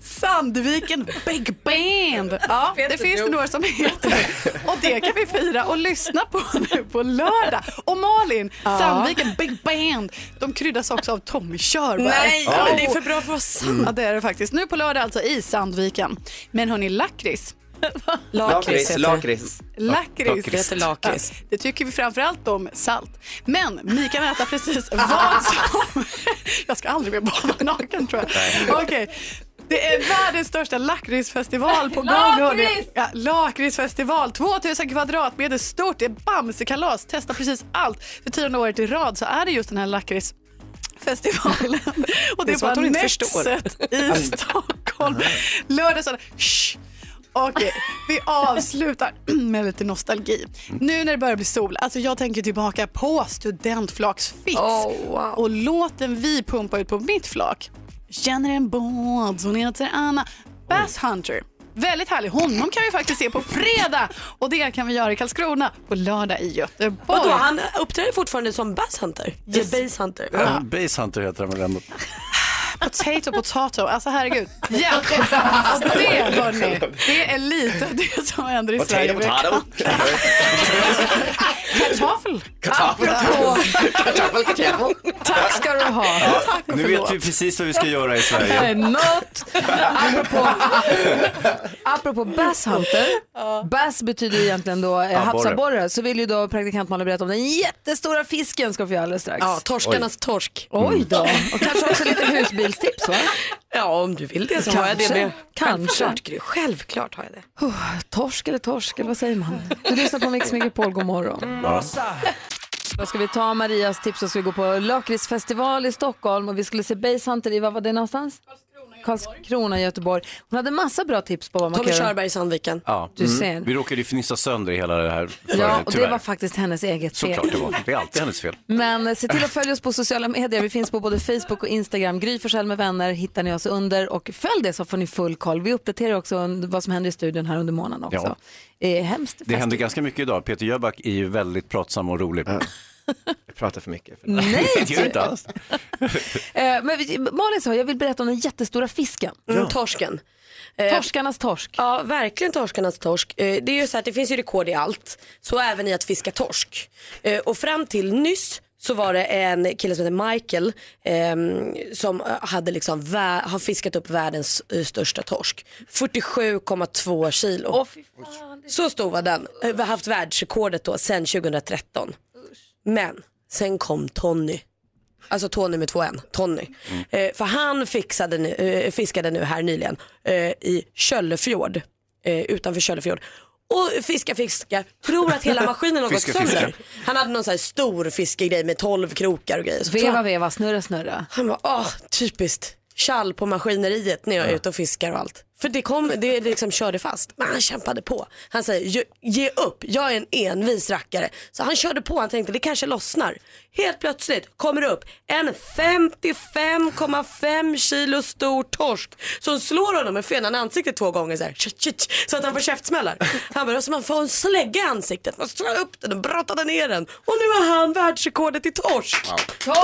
Sandviken Big Band. Ja, det finns det några som heter. Och det kan vi fira och lyssna på nu på lördag. Och Malin,
Ja.
Sandviken Big Band. De kryddas också av Tommy Körberg.
Nej,
Ja.
men det är för bra för oss.
Mm. Ja, det är det faktiskt. Nu på lördag alltså i Sandviken. Men hörni, lakrits.
Lakrits, lakrits.
Lakrits. Ja, det tycker vi framförallt om salt. Men ni kan äta precis vad som... jag ska aldrig mer bada naken tror jag. Okej. Det är världens största lakritsfestival på gång. hörni.
Lakrits!
Ja, lakritsfestival, 2000 kvadratmeter stort. Det är Bamsekalas, testa precis allt. För tionde året i rad så är det just den här lakritsfestivalen. Och
Det
det
är
är,
som att
på
hon inte
Netset
förstår.
i Stockholm. Lördag, söndag. Shh. Okej, vi avslutar med lite nostalgi. Nu när det börjar bli sol, alltså jag tänker tillbaka på studentflaksfix och låten vi pumpar ut på mitt flak. Känner en båt, hon heter Anna. Bass Hunter. Väldigt härlig. Honom kan vi faktiskt se på fredag och det kan vi göra i Karlskrona på lördag i Göteborg.
Och då, han uppträder fortfarande som Bass Hunter.
Yes.
Eller Bass Hunter.
Ja. Basehunter heter den väl ändå.
Potato, potato. Alltså herregud. Ja, alltså, det hörni. Det är lite det som händer i
Potato,
Sverige.
potato.
Kartoffel.
Kartoffel.
Kartoffel,
kartoffel.
Tack ska du ha. Tack och
Nu
förlåt.
vet vi precis vad vi ska göra i Sverige.
Något. Apropå, apropå Bass Hunter.
Ah.
Bass betyder ju egentligen då eh,
Abborre.
havsabborre. Så vill ju då praktikant Malin berätta om den jättestora fisken ska vi få göra alldeles strax.
Ja, torskarnas Oj. Mm. torsk.
Oj då. Och kanske också lite husbilstips va?
Ja, om du vill det så har jag det
Kanske.
med.
Kanske.
Självklart, Gry. Självklart har jag det.
Oh, torsk eller torsk, eller vad säger man? Du lyssnar på Mix Megapol, god morgon. Då ska vi ta Marias tips och ska vi gå på lakritsfestival i Stockholm och vi skulle se Basehunter i, vad var det någonstans? Karlskrona, Göteborg. Hon hade massa bra tips på vad man
Tommy
kan göra.
Körberg i Sandviken.
Ja. Mm.
Du ser.
Vi råkade ju fnissa sönder hela det här förut,
Ja, och det
tyvärr.
var faktiskt hennes eget fel.
Såklart det var. Det är alltid hennes fel.
Men eh, se till att följa oss på sociala medier. Vi finns på både Facebook och Instagram. Gry Forssell med vänner hittar ni oss under och följ det så får ni full koll. Vi uppdaterar också under- vad som händer i studion här under månaden också. Det är hemskt.
Det händer ganska mycket idag. Peter Jöback är ju väldigt pratsam och rolig.
Jag pratar för mycket.
Nej!
det gör du inte alls.
Eh, Men vi- Malin sa, jag vill berätta om den jättestora fisken.
Mm, torsken. Eh,
Torskarnas torsk.
Ja, verkligen torskarnas torsk. Eh, Det är ju så att det finns ju rekord i allt, så även i att fiska torsk. Eh, Och fram till nyss så var det en kille som heter Michael ehm, som eh, hade liksom vä- har fiskat upp världens eh, största torsk. 47,2 kilo. så stor var den. Eh, Vi har haft världsrekordet då sedan 2013. Men sen kom Tony. Alltså Tony med två N, Tony. Eh, för han fixade nu, eh, fiskade nu här nyligen eh, i Köllefjord, eh, utanför Köllefjord. Och fiska fiskar, tror att hela maskinen har gått
Fiska, fiska.
sönder. Han hade någon sån här stor fiskegrej med 12 krokar och grejer. Så tror
Veva,
han-
veva, snurra, snurra.
Han bara, ah, typiskt. Kall på maskineriet när jag är ute och fiskar och allt. För det kom, det liksom körde fast. Men han kämpade på. Han säger, "Ge- ge upp, jag är en envis rackare. Så han körde på, han tänkte det kanske lossnar. Helt plötsligt kommer det upp en 55,5 kilo stor torsk som slår honom med fenan i ansiktet två gånger så, här, Tch, tch, tch, så att han får käftsmällar. Han bara, som man får en slägga i ansiktet. Man slår upp den och brottade ner den. Och nu har han världsrekordet i torsk. Tony!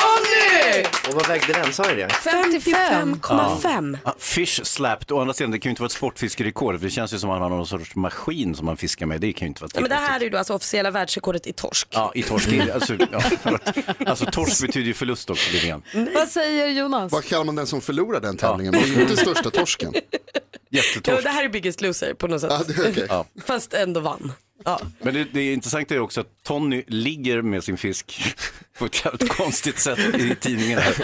Och vad vägde den, sa du det?
55,5.
Ja. Fish slapped, å andra sidan det kan ju inte vara ett sportfiskerekord för det känns ju som att han har någon sorts maskin som han fiskar med, det kan ju inte vara
Ja, men
tillräckligt.
det här är ju då alltså officiella världsrekordet i torsk.
Ja, i torsk, alltså, ja, förlåt. alltså torsk betyder ju förlust också lite grann.
Vad säger Jonas?
Alltså-
Vad kallar man den som förlorar den tävlingen? Det är ju inte största torsken.
Ja,
Jättetorsk.
det här är Biggest Loser på något sätt.
Ja, det är okej.
Ja.
Fast ändå vann. Ja.
Men det, det intressanta är också att Tony ligger med sin fisk på ett jävligt konstigt sätt i tidningen. Här.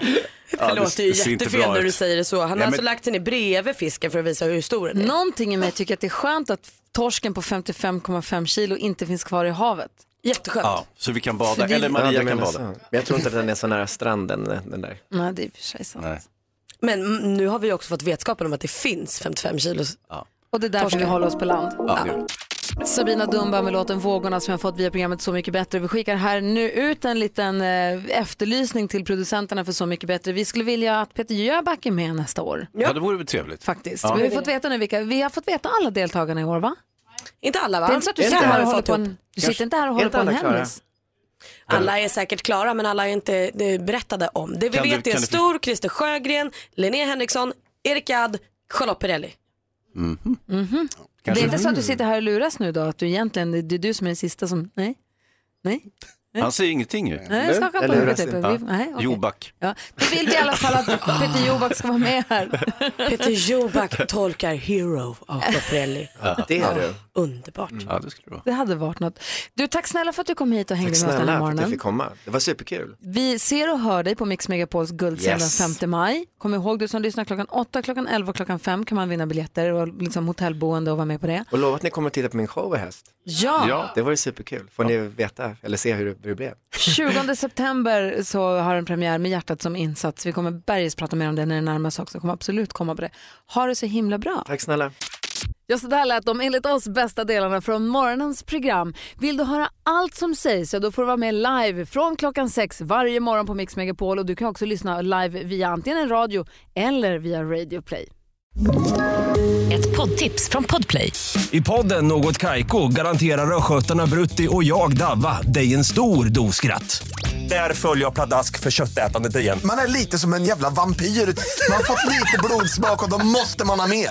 det låter ju
ser inte
jättefel
bra
när du
ut.
säger det så. Han har
Ja, men-
alltså lagt henne bredvid fisken för att visa hur stor den är.
Någonting i mig tycker att det är skönt att torsken på 55,5 kilo inte finns kvar i havet.
Jätteskönt.
Ja,
så vi kan bada. För det- Eller Maria
du
kan
menar
bada.
så. Men jag tror inte att den är så nära stranden, den där.
Nej, det är i och för sig sant.
Men mm, nu har vi ju också fått vetskapen om att det finns 55 kilos.
Och det är därför
Torsken.
vi håller oss på land.
Ja, det
Sabina Dumba med låten Vågorna som jag fått via programmet Så mycket bättre. Vi skickar här nu ut en liten eh, efterlysning till producenterna för Så mycket bättre. Vi skulle vilja att Peter Jöback är med nästa år.
Ja, det vore väl trevligt.
Faktiskt.
Ja.
Vi, har fått veta nu vilka, vi har fått veta alla deltagarna i år va?
Inte alla va?
Det är inte så att du sitter här och håller på en, du sitter inte här och håller på en hemlis.
Alla är säkert klara men alla är inte det är berättade om. Det vi
Kan du-
vet är
kan du-
Stor, Christer Sjögren, Linnea Henriksson, Erik Gadd, Charlotte Perrelli.
Mm.
Mhm. Det är
Kanske. Mm.
inte så att du sitter här och luras nu då? Att du egentligen, det är du som är den sista som, nej? Nej?
Han säger ingenting ju.
Nej, skaka på huvudet.
typ.
Vi- nej, okej.
Joback.
Ja. Då vill vi i alla fall att Peter Joback ska vara med här.
Peter Joback tolkar Hero av Caprelli.
Ja, det är du.
Underbart.
Ja, det skulle du vara.
Det hade varit något. Du, tack snälla för att du kom hit och hängde
Tack
med oss den
snälla
här
för att jag fick
morgonen.
komma. Det var superkul.
Vi ser och hör dig på Mix Megapols guldscen
Yes.
den 5 maj. Kom ihåg du som lyssnar klockan 8, klockan 11 och klockan 5 kan man vinna biljetter och liksom hotellboende och vara med på det.
Och lova att ni kommer att titta på min show i höst.
Ja.
Det var ju superkul. Får ni veta, eller se hur det, hur det blev.
20 september så har en premiär med hjärtat som insats. Vi kommer bergis prata mer om det när det närmar sig också. Kommer absolut komma på det. Ha det så himla bra.
Tack snälla.
Ja, så där lät de enligt oss bästa delarna från morgonens program. Vill du höra allt som sägs så då får du vara med live från klockan sex varje morgon på Mix Megapol och du kan också lyssna live via antingen radio eller via Radio Play.
Ett poddtips från Podplay.
I podden Något Kaiko garanterar östgötarna Brutti och jag, Davva, dig en stor dos skratt. Där följer jag pladask för köttätandet igen.
Man är lite som en jävla vampyr. Man har fått lite blodsmak och då måste man ha mer.